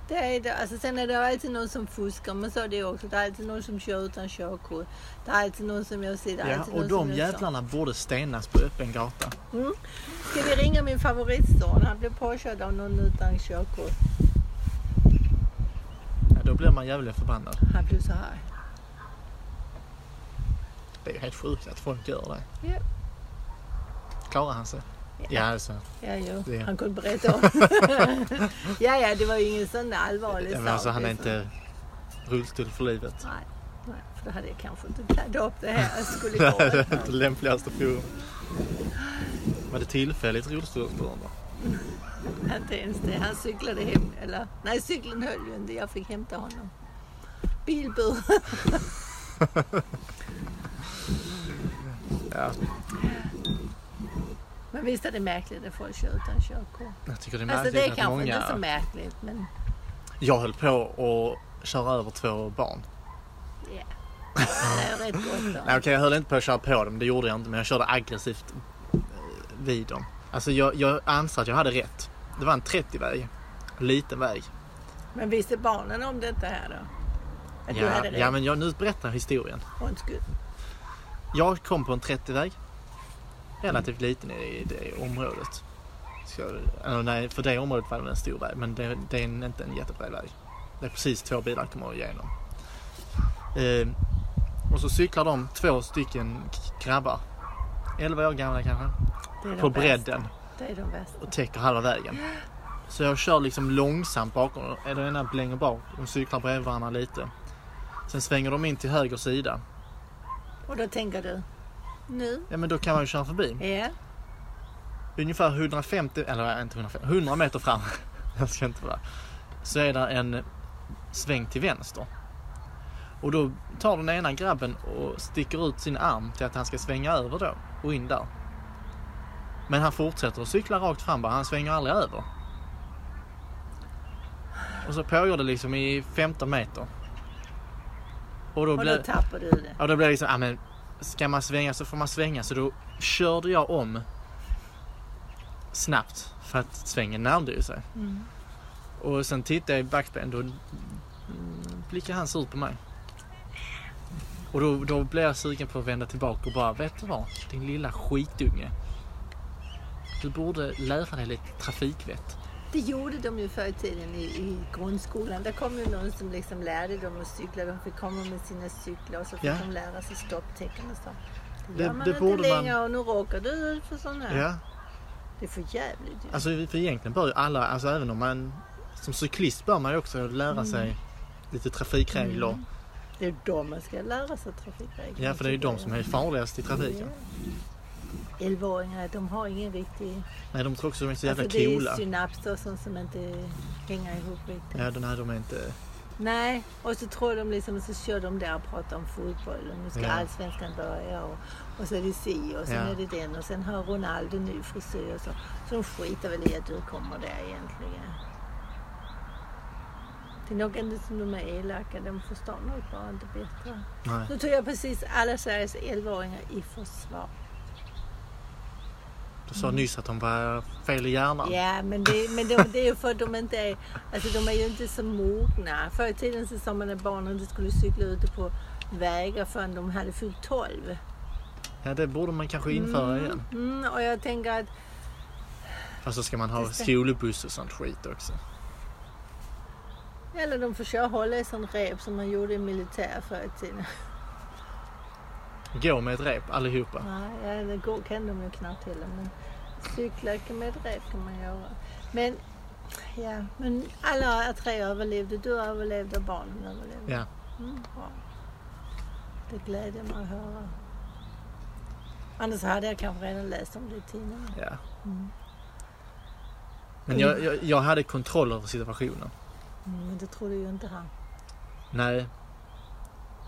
Speaker 2: Det är det. Alltså, sen är det alltid någon som fuskar, men så är det också. Det är alltid någon som kör utan körkort. Det är alltid någon som gör sitt. det är
Speaker 1: ja,
Speaker 2: alltid
Speaker 1: och
Speaker 2: någon som
Speaker 1: de
Speaker 2: gör så.
Speaker 1: jävlarna borde stenas på öppen gata.
Speaker 2: Mm. Ska vi ringa min favoritson? Han blev påkörd av någon utan körkort.
Speaker 1: Ja, då blir man jävligt förbannad.
Speaker 2: Han blev så här.
Speaker 1: Det är ju helt sjukt att folk gör det.
Speaker 2: Ja.
Speaker 1: Klarar han sig?
Speaker 2: Ja.
Speaker 1: Ja, alltså.
Speaker 2: Ja, jo.
Speaker 1: Det-
Speaker 2: Han kunde berätta om. ja, ja, det var ju ingen sån allvarlig
Speaker 1: Ja, men
Speaker 2: sak.
Speaker 1: alltså han är
Speaker 2: liksom.
Speaker 1: inte rullstol för livet.
Speaker 2: Nej, nej, för då hade jag kanske inte laddat upp det här. Jag skulle
Speaker 1: Nej,
Speaker 2: gå.
Speaker 1: det är inte lämpligaste forum. Var det tillfälligt rullstolsburen då?
Speaker 2: Inte ens det. Han cyklade hem. Eller, nej, cykeln höll ju inte. Jag fick hämta honom. Bilbur.
Speaker 1: Ja.
Speaker 2: Men visst är det märkligt att folk kör utan körkort?
Speaker 1: Jag tycker det är
Speaker 2: Alltså
Speaker 1: märkligt
Speaker 2: det är
Speaker 1: att
Speaker 2: kanske inte så
Speaker 1: många...
Speaker 2: märkligt men
Speaker 1: Jag höll på att köra över två barn.
Speaker 2: ja. Det är rätt gott då.
Speaker 1: Nej okej, jag höll inte på att köra på dem, det gjorde jag inte. Men jag körde aggressivt eh, vid dem. Alltså jag, jag anser att jag hade rätt. Det var en 30-väg. Liten väg.
Speaker 2: Men visste barnen om detta här då? Att du
Speaker 1: Ja,
Speaker 2: hade
Speaker 1: ja
Speaker 2: rätt?
Speaker 1: men jag, nu berättar jag historien.
Speaker 2: Och en skutt?
Speaker 1: Jag kom på en 30-väg. Relativt liten i det området. Så, eller nej, för det området var det en stor väg, men det, det är en- inte en jättebred väg. Det är precis två bilar kommer igenom. Eh, och så cyklar de två stycken k- grabbar. 11 år gamla kanske.
Speaker 2: Det är de
Speaker 1: På
Speaker 2: värsta.
Speaker 1: bredden
Speaker 2: Det är de värsta.
Speaker 1: och täcker halva vägen. Så jag kör liksom långsamt bakom dem. Den ena blänger bak. De cyklar bredvid varandra lite. Sen svänger de in till höger sida.
Speaker 2: Och då tänker du? Nu?
Speaker 1: Ja men då kan man ju köra förbi.
Speaker 2: Ja.
Speaker 1: ungefär 150, eller inte 150, 100 meter fram, jag ska inte vara, så är där en sväng till vänster. Och då tar den ena grabben och sticker ut sin arm till att han ska svänga över då och in där. Men han fortsätter att cykla rakt fram bara, han svänger aldrig över. Och så pågår det liksom i 15 meter. Och då
Speaker 2: Och
Speaker 1: blir...
Speaker 2: då tappar du det.
Speaker 1: Ja, då blev det liksom, ah, men ska man svänga så får man svänga. Så då körde jag om snabbt för att svängen närmade ju sig.
Speaker 2: Mm.
Speaker 1: Och sen tittade jag i backspegeln, då mm, blickade han surt på mig. Och då, då blev jag sugen på att vända tillbaka och bara, vet du vad? Din lilla skitunge. Du borde lära dig lite trafikvett.
Speaker 2: Det gjorde de ju förr i tiden i, i grundskolan. Där kom ju någon som liksom lärde dem att cykla. De fick komma med sina cyklar och så fick
Speaker 1: Ja.
Speaker 2: de lära sig stopptecken och så.
Speaker 1: Det-
Speaker 2: Det gör man
Speaker 1: det
Speaker 2: inte
Speaker 1: borde man-
Speaker 2: längre och nu råkar du ut för sådana här. Det är för jävligt ju.
Speaker 1: Alltså för egentligen bör ju alla, alltså även om man som cyklist bör man ju också lära sig lite trafikregler.
Speaker 2: Det är de man ska lära sig trafikregler.
Speaker 1: Ja, för det är ju de som är farligast i trafiken.
Speaker 2: Elvaåringar, de har ingen riktig...
Speaker 1: Nej, de tror också att de är så jävla
Speaker 2: Alltså, det är
Speaker 1: coola.
Speaker 2: synapser och sånt som inte hänger ihop riktigt.
Speaker 1: Ja, den här de är inte...
Speaker 2: Nej, och så tror de liksom, så kör de där och pratar om fotboll och nu ska
Speaker 1: Ja.
Speaker 2: allsvenskan börja och, och så är det si och sen
Speaker 1: Ja.
Speaker 2: är det den och sen har Ronaldo ny frisyr och så. Så de skiter väl i att du kommer där egentligen. Det är nog ändå som de är elaka, de förstår nog bara inte bättre.
Speaker 1: Nej.
Speaker 2: Nu tog jag precis alla Sveriges 11-åringar i försvar.
Speaker 1: Du sa nyss att de var fel i hjärnan.
Speaker 2: Ja, men, det, men de, det är ju för att de inte är, alltså de är ju inte så mogna. Förr i tiden så sa man att barnen inte skulle cykla ute på vägar förrän de hade fyllt 12.
Speaker 1: Ja, det borde man kanske införa igen.
Speaker 2: Mm, och jag tänker att,
Speaker 1: Fast så ska man ha
Speaker 2: Just det.
Speaker 1: skolbuss och sånt skit också.
Speaker 2: eller de får köra hålla i sån rep som man gjorde i militär förr i tiden.
Speaker 1: Gå med ett rep allihopa.
Speaker 2: Nej, ja, det går kan de ju knappt heller. Men cykla kan med ett rep kan man göra. Men, ja, men alla tre överlevde. Du överlevde och barnen överlevde.
Speaker 1: Ja.
Speaker 2: Mm, bra. Det gläder mig att höra. Annars hade jag kanske redan läst om det i tidningen.
Speaker 1: Ja.
Speaker 2: Mm.
Speaker 1: Men jag, jag, jag hade kontroll över situationen.
Speaker 2: Mm, men det trodde ju inte han.
Speaker 1: Nej.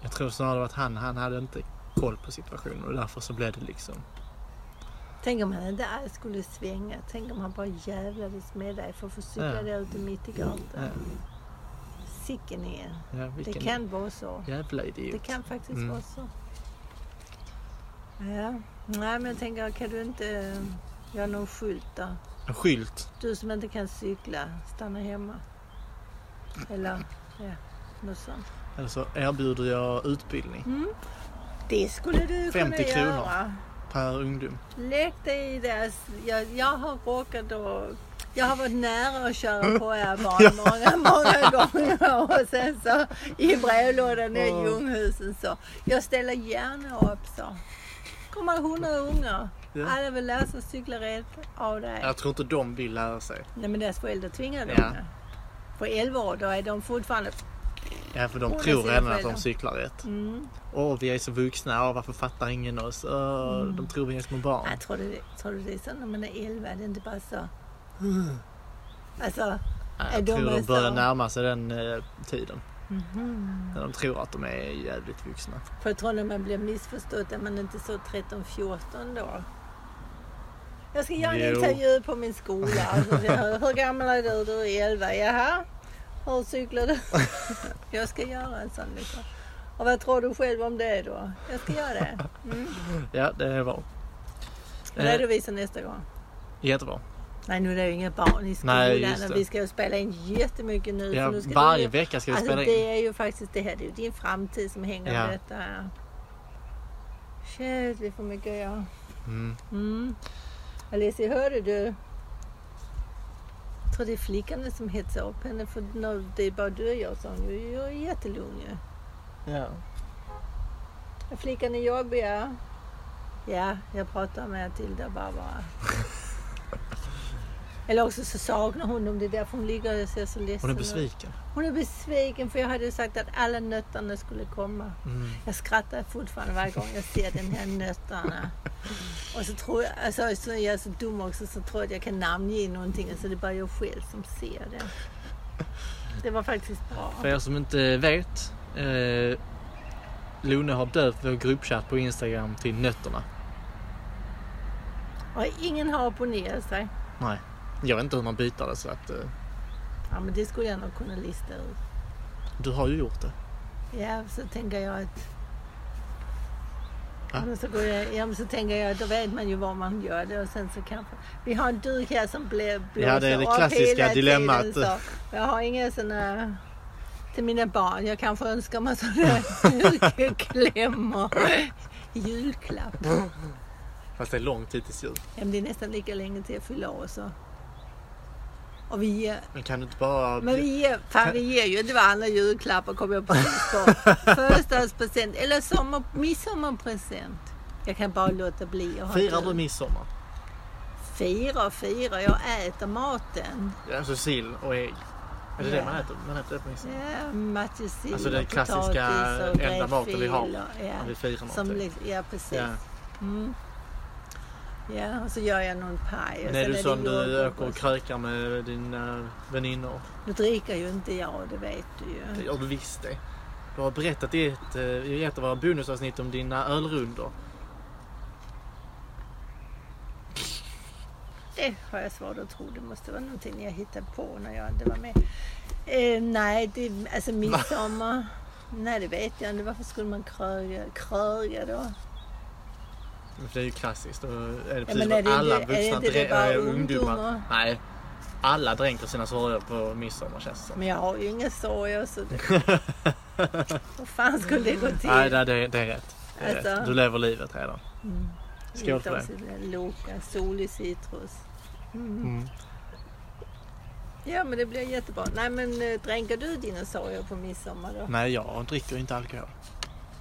Speaker 1: Jag tror snarare att han, han hade inte koll på situationen och därför så blev det liksom.
Speaker 2: Tänk om han inte alls skulle svänga. Tänk om han bara jävlades med dig för att få cykla
Speaker 1: Ja.
Speaker 2: där ute mitt i gatan.
Speaker 1: Ja,
Speaker 2: Sicken igen.
Speaker 1: ja,
Speaker 2: Det
Speaker 1: vilken
Speaker 2: kan vara så.
Speaker 1: jävla
Speaker 2: Det
Speaker 1: idiot.
Speaker 2: kan faktiskt
Speaker 1: Mm.
Speaker 2: vara så. Ja. Nej, men jag tänker, kan du inte eh, göra någon skylt då?
Speaker 1: En skylt.
Speaker 2: Du som inte kan cykla, stanna hemma. Eller ja, något sånt.
Speaker 1: Eller så Alltså, erbjuder jag utbildning
Speaker 2: Det skulle du
Speaker 1: 50
Speaker 2: kunna
Speaker 1: kronor.
Speaker 2: göra.
Speaker 1: per ungdom.
Speaker 2: Lägg dig i deras... Jag, jag har råkat att... Jag har varit nära att köra på er barn många, många gånger. Och sen så i brevlådan i
Speaker 1: Åh.
Speaker 2: Ljunghusen så. Jag ställer gärna upp så. Kommer hundra ungar.
Speaker 1: Ja.
Speaker 2: Alla vill lära sig cykla rätt av dig.
Speaker 1: Jag tror inte de vill lära sig.
Speaker 2: Nej men deras föräldrar tvingar dem.
Speaker 1: Ja.
Speaker 2: Ja. På 11 år då är de fortfarande...
Speaker 1: Ja, för
Speaker 2: Åh,
Speaker 1: de
Speaker 2: det
Speaker 1: tror
Speaker 2: ser jag
Speaker 1: redan att
Speaker 2: själv.
Speaker 1: de cyklar rätt.
Speaker 2: Mm.
Speaker 1: Åh, vi är så vuxna. Åh, varför fattar ingen oss? Åh,
Speaker 2: Mm.
Speaker 1: De tror vi är små barn.
Speaker 2: Jag tror, du, tror du det är så när man är 11? Det är inte bara så... Alltså...
Speaker 1: Nej,
Speaker 2: är
Speaker 1: jag
Speaker 2: de
Speaker 1: tror
Speaker 2: är
Speaker 1: de
Speaker 2: så-
Speaker 1: börjar närma sig den eh, tiden.
Speaker 2: Mhm.
Speaker 1: När de tror att de är jävligt vuxna.
Speaker 2: För jag tror när man blir missförstådd är man inte så 13-14 då. Jag ska göra en
Speaker 1: Jo.
Speaker 2: intervju på min skola. Alltså, så här, hur gammal är du? Du är 11. Jaha? Hur cyklar du? jag ska göra en sån liksom. Och vad tror du själv om det då? Jag ska göra det. Mm.
Speaker 1: Ja, det är bra. Eh,
Speaker 2: Redovisa nästa gång.
Speaker 1: jättebra.
Speaker 2: Nej nu är det ju inga barn i skolan.
Speaker 1: Nej, just
Speaker 2: och
Speaker 1: det.
Speaker 2: vi ska ju spela in jättemycket nu.
Speaker 1: Ja,
Speaker 2: för nu ska
Speaker 1: varje
Speaker 2: du...
Speaker 1: vecka ska vi
Speaker 2: Alltså
Speaker 1: spela in.
Speaker 2: det är ju faktiskt det här, det är ju din framtid som hänger
Speaker 1: Ja.
Speaker 2: med detta. här. Shit, vi får mycket att göra.
Speaker 1: Mm.
Speaker 2: Mm. Alicia, hörde du? Jag tror det är flickorna som hetsar upp henne för när det är bara du och jag, sa hon. ju. Jag är jättelugn ju.
Speaker 1: Ja.
Speaker 2: Är flickan är jobbiga? Ja, jag pratar med Tilda Barbara. Eller också så saknar hon dem. Det är därför hon ligger och ser så ledsen
Speaker 1: Hon är
Speaker 2: ut.
Speaker 1: besviken.
Speaker 2: Hon är besviken för jag hade ju sagt att alla nötterna skulle komma.
Speaker 1: Mm.
Speaker 2: Jag skrattar fortfarande varje gång jag ser den här nötterna. Och så tror jag, alltså så är jag så dum också så tror jag att jag kan namnge någonting. Alltså det är bara jag själv som ser det. Det var faktiskt bra.
Speaker 1: För er som inte vet. Eh, Lone har döpt vår gruppchatt på Instagram till Nötterna.
Speaker 2: Och ingen har opponerat sig.
Speaker 1: Nej. Jag vet inte hur man byter det så att eh,
Speaker 2: Ja men det skulle jag nog kunna lista ut.
Speaker 1: du har ju gjort det.
Speaker 2: Ja, så tänker jag att...
Speaker 1: Va?
Speaker 2: Ja, men så, går jag, ja, men så tänker jag att då vet man ju var man gör det och sen så kanske... Vi har en duk här som blev
Speaker 1: Ja, det är det
Speaker 2: blåser upp
Speaker 1: klassiska
Speaker 2: hela tiden,
Speaker 1: dilemmat.
Speaker 2: så. Jag har inga såna... Till mina barn. Jag kanske önskar mig sådana julklämmor. Julklapp.
Speaker 1: Fast det är lång tid tills jul.
Speaker 2: Ja, men det är nästan lika länge till jag fyller år så. Och vi ger
Speaker 1: Men kan du inte bara...
Speaker 2: men vi ger, fan, vi ger ju inte varandra julklappar kommer jag precis på. Födelsedagspresent eller sommar, midsommarpresent. Jag kan bara låta bli att ha
Speaker 1: Firar
Speaker 2: jul.
Speaker 1: du midsommar?
Speaker 2: Fira och fira, jag äter maten.
Speaker 1: Ja, Alltså sill och ägg. Är det
Speaker 2: Ja.
Speaker 1: det man äter? Man äter det på midsommar?
Speaker 2: Ja, matjessill
Speaker 1: Alltså det
Speaker 2: och
Speaker 1: klassiska
Speaker 2: potatis och
Speaker 1: enda maten vi har liksom-
Speaker 2: gräddfil och-
Speaker 1: När
Speaker 2: Ja,
Speaker 1: vi firar
Speaker 2: som,
Speaker 1: någonting.
Speaker 2: li- ja precis.
Speaker 1: Ja.
Speaker 2: Mm. Ja, och så gör jag någon paj. och
Speaker 1: Men är
Speaker 2: sen
Speaker 1: du
Speaker 2: det
Speaker 1: sån du
Speaker 2: jordgubb
Speaker 1: åker och
Speaker 2: och så.
Speaker 1: krökar med dina väninnor?
Speaker 2: Nu dricker ju inte jag, det vet du
Speaker 1: Det
Speaker 2: ju.
Speaker 1: gör du visst det. Du har berättat i ett, eh, i ett av våra bonusavsnitt om dina ölrundor.
Speaker 2: Det har jag svårt att tro. Det måste vara någonting jag hittade på när jag inte var med. Eh, nej, det, alltså midsommar. nej, det vet jag inte. Varför skulle man kröga, kröga då?
Speaker 1: För det är ju klassiskt. Då är det
Speaker 2: Ja,
Speaker 1: precis
Speaker 2: men
Speaker 1: vad
Speaker 2: är det
Speaker 1: alla
Speaker 2: inte- är
Speaker 1: vuxna
Speaker 2: inte det
Speaker 1: drä-
Speaker 2: bara
Speaker 1: äh,
Speaker 2: ungdomar?
Speaker 1: Nej. Alla dränker sina sorger på midsommar känns det som.
Speaker 2: Men jag har ju inga sorger så det... Vad fan skulle det gå till?
Speaker 1: Nej, det, det, det är rätt. Det är
Speaker 2: Alltså.
Speaker 1: rätt. Du lever livet redan.
Speaker 2: Mm.
Speaker 1: Skål för det.
Speaker 2: det. Loka, solig citrus. Mm.
Speaker 1: Mm.
Speaker 2: Ja, men det blir jättebra. Nej, men eh, dränker du dina sorger på midsommar då?
Speaker 1: Nej, jag dricker inte alkohol.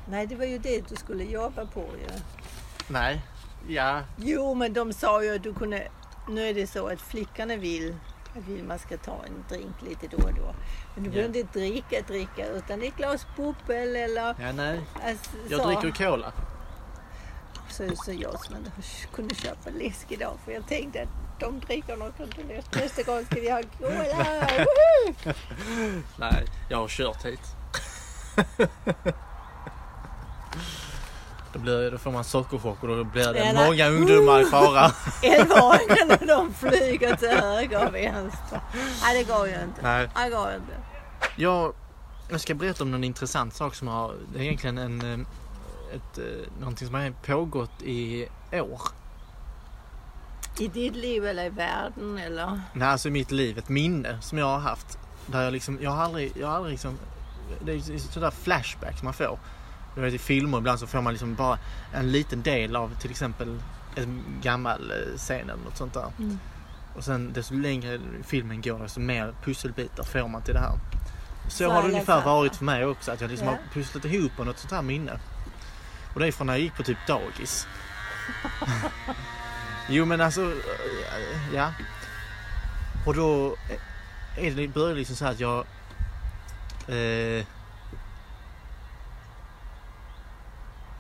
Speaker 2: Nej, det var ju det du skulle jobba på ju.
Speaker 1: Nej. Ja.
Speaker 2: Jo, men de sa ju att du kunde... Nu är det så att flickorna vill att Vilma ska ta en drink lite då och då. Men du
Speaker 1: Ja.
Speaker 2: behöver inte dricka, dricka, utan det är ett glas bubbel eller...
Speaker 1: ja nej.
Speaker 2: Alltså,
Speaker 1: Jag
Speaker 2: så.
Speaker 1: dricker cola.
Speaker 2: Så, så jag som inte kunde köpa läsk idag, för jag tänkte att de dricker nog inte läsk. Nästa gång ska vi ha cola! Woho!
Speaker 1: Nej, jag har kört hit. då, blir, då får man sockerchock och då blir det
Speaker 2: Eller-
Speaker 1: många ungdomar i fara.
Speaker 2: Elvaåringarna de flyger till höger och vänster. Nej, det går ju inte.
Speaker 1: Nej.
Speaker 2: Nej, det går inte.
Speaker 1: Jag, jag ska berätta om någon intressant sak som har, det är egentligen en, eh, ett, eh, någonting som har pågått i år.
Speaker 2: I ditt liv eller i världen eller?
Speaker 1: Nej, alltså i mitt liv, ett minne som jag har haft. Där jag liksom, jag har aldrig, jag har aldrig liksom, det är ju sådär flashbacks man får. Du vet i filmer ibland så får man liksom bara en liten del av till exempel en gammal eh, scen eller något sånt där.
Speaker 2: Mm.
Speaker 1: Och sen desto längre filmen går desto mer pusselbitar får man till det här. Så har det
Speaker 2: Falla
Speaker 1: ungefär
Speaker 2: samman.
Speaker 1: varit för mig också, att jag liksom
Speaker 2: Ja.
Speaker 1: har pusslat ihop något sånt här minne. Och det är från när jag gick på typ dagis. jo men alltså, eh, ja. Och då är det, börjar det liksom så här att jag... Eh,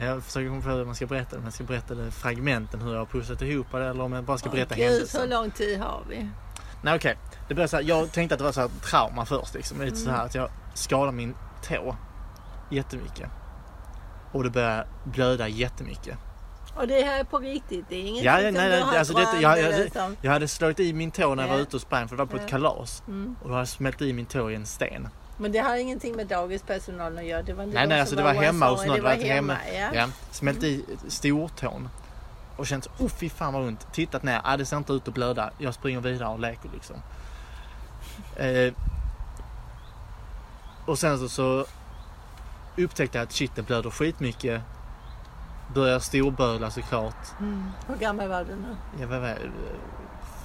Speaker 1: jag försöker komma på hur man ska berätta det. Om jag ska berätta det fragmenten, hur jag har pusslat ihop det eller om jag bara ska berätta
Speaker 2: Åh, Gud,
Speaker 1: händelsen.
Speaker 2: hur lång tid har vi?
Speaker 1: Nej okej. Det började så här, jag tänkte att det var så här trauma först liksom. Lite
Speaker 2: Mm.
Speaker 1: så här att jag skadade min tå jättemycket. Och det började blöda jättemycket.
Speaker 2: Och det här är på riktigt? Det är inget
Speaker 1: Ja, ja,
Speaker 2: som
Speaker 1: nej,
Speaker 2: du
Speaker 1: nej,
Speaker 2: har
Speaker 1: alltså, detta-
Speaker 2: drömt liksom.
Speaker 1: jag- jag-
Speaker 2: eller som...
Speaker 1: Jag hade slagit i min tå när jag var
Speaker 2: Ja.
Speaker 1: ute och sprang för det var på
Speaker 2: Ja.
Speaker 1: ett kalas.
Speaker 2: Mm.
Speaker 1: Och då hade jag smält i min tå i en sten.
Speaker 2: Men det har ingenting med dagispersonalen att göra? Det var inte
Speaker 1: nej
Speaker 2: de
Speaker 1: nej
Speaker 2: som
Speaker 1: alltså det var hemma hos någon.
Speaker 2: oansvariga,
Speaker 1: Det var hemma.
Speaker 2: Ja.
Speaker 1: Ja. Smält i stortån. Och känt oh fy fan vad ont. Tittat ner, ah, det ser inte ut att blöda. Jag springer vidare och leker liksom. Eh, och sen så, så upptäckte jag att shit det blöder skitmycket. Börjar storböla såklart.
Speaker 2: Mm. Hur gammal var du nu?
Speaker 1: Jag var, var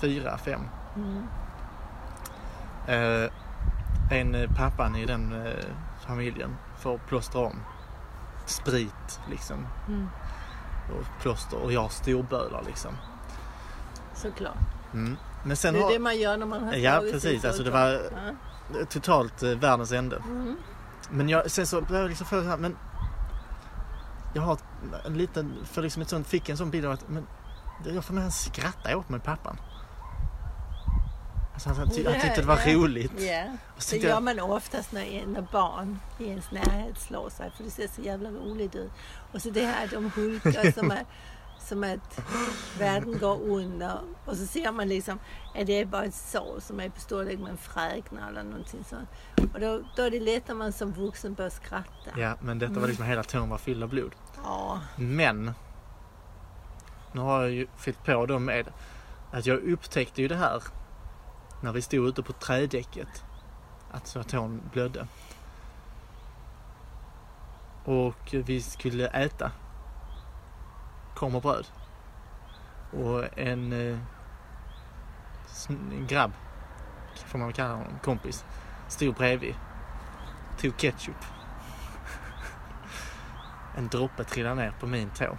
Speaker 1: fyra, fem.
Speaker 2: Mm.
Speaker 1: Eh, en eh, pappan i den eh, familjen får plåstra om sprit liksom.
Speaker 2: Mm.
Speaker 1: Och plåster och jag storbölar liksom.
Speaker 2: Såklart.
Speaker 1: Mm. Men sen
Speaker 2: det är
Speaker 1: har...
Speaker 2: det man gör när man har
Speaker 1: Ja
Speaker 2: slagit
Speaker 1: precis,
Speaker 2: sig
Speaker 1: alltså det
Speaker 2: förutom.
Speaker 1: var
Speaker 2: Ja.
Speaker 1: totalt eh, världens ände.
Speaker 2: Mm.
Speaker 1: Men jag, sen så började jag liksom få så här, men... Jag har ett- en liten, för liksom ett sånt, fick en sån bild av att, men... Jag får med han skrattar åt mig pappan. Alltså han, han, ty- han tyckte det var
Speaker 2: Ja, ja.
Speaker 1: roligt.
Speaker 2: Ja.
Speaker 1: Och så
Speaker 2: Det
Speaker 1: tyckte
Speaker 2: gör
Speaker 1: jag,
Speaker 2: man oftast när, när barn i ens närhet slår sig för det ser så jävla roligt ut. Och så det här att de hulkar som, är, som att världen går under. Och så ser man liksom, är det bara ett sår som är på storlek med en fräknar eller någonting sånt. Och då, då är det lätt när man som vuxen börjar skratta.
Speaker 1: ja men detta var liksom hela tån var fylld av blod.
Speaker 2: Ja.
Speaker 1: Men nu har jag ju fyllt på dem med att jag upptäckte ju det här när vi stod ute på trädäcket. Att så att tån blödde. Och vi skulle äta. Kommer bröd. Och en, eh, sn- en grabb, får man väl kalla honom, kompis, stod bredvid. Tog ketchup. En droppe trillar ner på min tå.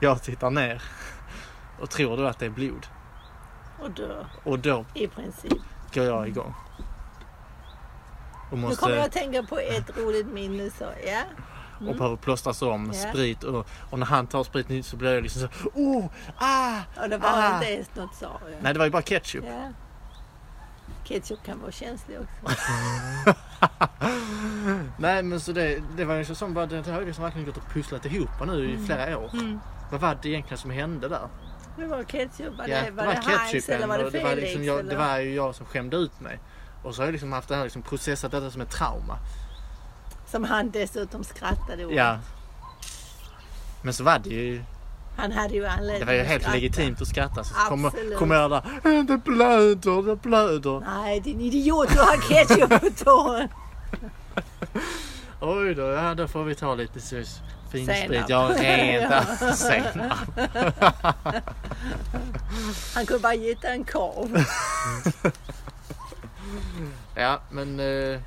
Speaker 1: Jag tittar ner och tror då att det är blod.
Speaker 2: Och dör
Speaker 1: Och då
Speaker 2: i princip.
Speaker 1: går jag igång. Och
Speaker 2: Nu kommer
Speaker 1: måste...
Speaker 2: jag att tänka på ett roligt minne. Så, ja.
Speaker 1: och behöver plåstras om
Speaker 2: Ja.
Speaker 1: sprit. Och, och när han tar spriten så blir jag liksom så oh, ah!
Speaker 2: Och det var
Speaker 1: Ah.
Speaker 2: inte ens något sorg.
Speaker 1: Nej, det var ju bara ketchup.
Speaker 2: Ja. Ketchup kan vara känslig också.
Speaker 1: Nej, men så det, det var ju så som bara, det, det har ju liksom verkligen gått och pusslat ihop nu
Speaker 2: Mm.
Speaker 1: i flera år. Vad var det egentligen som hände där?
Speaker 2: Det var ketchup, var
Speaker 1: Ja,
Speaker 2: det, var det Heinz eller var det
Speaker 1: och det, var
Speaker 2: Felix?
Speaker 1: liksom jag,
Speaker 2: eller?
Speaker 1: det var ju jag som skämde ut mig. Och så har jag liksom haft det här, liksom processat detta som ett trauma.
Speaker 2: Som han dessutom skrattade åt.
Speaker 1: Ja. Men så var det ju,
Speaker 2: Han hade ju anledning
Speaker 1: det var ju
Speaker 2: att
Speaker 1: helt
Speaker 2: skratta.
Speaker 1: legitimt att skratta. Så kommer
Speaker 2: Absolut.
Speaker 1: kom jag där, "Eh, det blöder, det blöder.
Speaker 2: Nej, din idiot, du har ketchup på tån.
Speaker 1: Oj då, ja då får vi ta lite så- finsprit.
Speaker 2: Senap.
Speaker 1: Ja, reda senap.
Speaker 2: Han kunde bara gett en korv.
Speaker 1: Ja, men eh,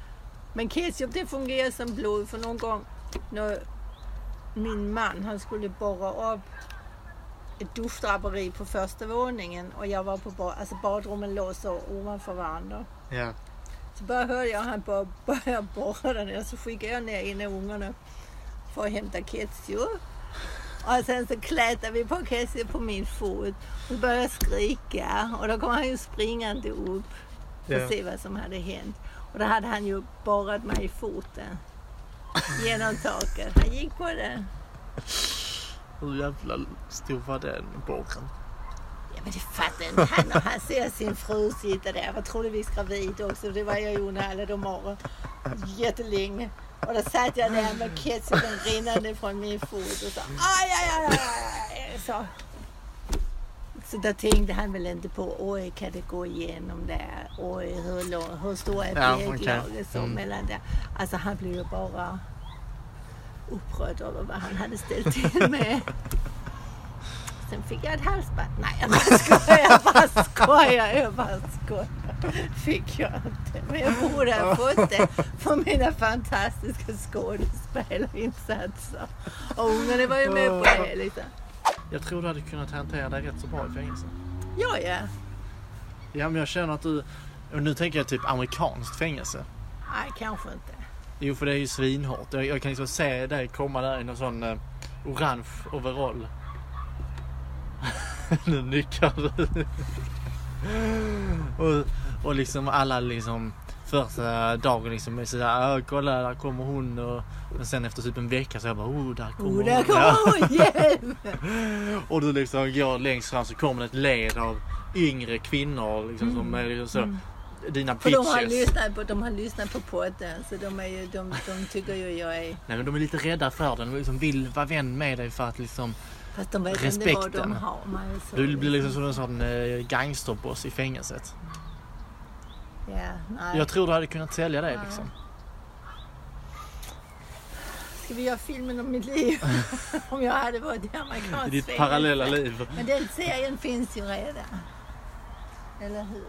Speaker 2: Men ketchup det fungerar som blod för någon gång när min man han skulle borra upp ett duschdraperi på första våningen och jag var på bad, alltså badrummen låg så ovanför varandra.
Speaker 1: ja.
Speaker 2: Så bara hörde jag han bara börja borra den och så skickade jag ner ena ungarna för att hämta ketchup. Och sen så klätade vi på ketchup på min fot och började jag skrika och då kom han ju springande upp och
Speaker 1: Ja.
Speaker 2: se vad som hade hänt. Och då hade han ju borrat mig i foten. Genom taket. Han gick på det.
Speaker 1: Hur jävla stor var den borren?
Speaker 2: Ja men det fattar inte han. Och han ser sin fru sitta där. Jag var troligtvis gravid också. Det var jag ju under alla de åren. Jättelänge. Och då satt jag där med ketchupen rinnande från min fot och så aj, aj, aj, aj, aj, aj, så. Så då tänkte han väl inte på, oj kan det gå igenom där? Oj hur, lång, hur stor är
Speaker 1: Ja,
Speaker 2: väglaget
Speaker 1: okej.
Speaker 2: så
Speaker 1: Mm.
Speaker 2: mellan där? Alltså han blev ju bara upprörd över vad han hade ställt till med. Sen fick jag ett halsband. Nej, jag bara skojar, jag bara skojar, jag bara skojar. Fick jag inte. Men jag borde ha fått det för mina fantastiska skådespelarinsatser. Och ungarna var ju med på det. Liksom.
Speaker 1: Jag tror du hade kunnat hantera det rätt så bra i fängelse.
Speaker 2: Ja, ja.
Speaker 1: Ja, men jag känner att du... Och nu tänker jag typ amerikanskt fängelse.
Speaker 2: Nej, kanske inte.
Speaker 1: Jo, för det är ju svinhårt. Jag, jag kan liksom se dig komma där i någon sån eh, orange overall. nu nickar du. och, och liksom alla liksom första dagen liksom är sådär, "Åh, kolla där kommer hon och men sen efter typ en vecka så jag bara, oh där kommer
Speaker 2: Oh,
Speaker 1: hon.
Speaker 2: där
Speaker 1: Ja.
Speaker 2: kommer hon! Hjälp!
Speaker 1: Och du liksom går längst fram så kommer det ett led av yngre kvinnor liksom som är liksom så, dina
Speaker 2: Mm. För de
Speaker 1: bitches.
Speaker 2: har, lyssnat på, de har lyssnat på podden så de, är ju, de, de tycker ju jag är...
Speaker 1: Nej men de är lite rädda för den och liksom vill vara vän med dig för att liksom
Speaker 2: Fast de vet inte vad de
Speaker 1: Respekten.
Speaker 2: har mig. så
Speaker 1: Du blir liksom som en sån eh, gangsterboss i fängelset.
Speaker 2: Ja, nej.
Speaker 1: Jag tror du hade kunnat sälja det liksom.
Speaker 2: Ska vi göra filmen om mitt liv? om jag hade varit i
Speaker 1: I
Speaker 2: amerikansk
Speaker 1: ditt
Speaker 2: fängelse.
Speaker 1: parallella liv.
Speaker 2: Men den serien finns ju redan. Eller hur?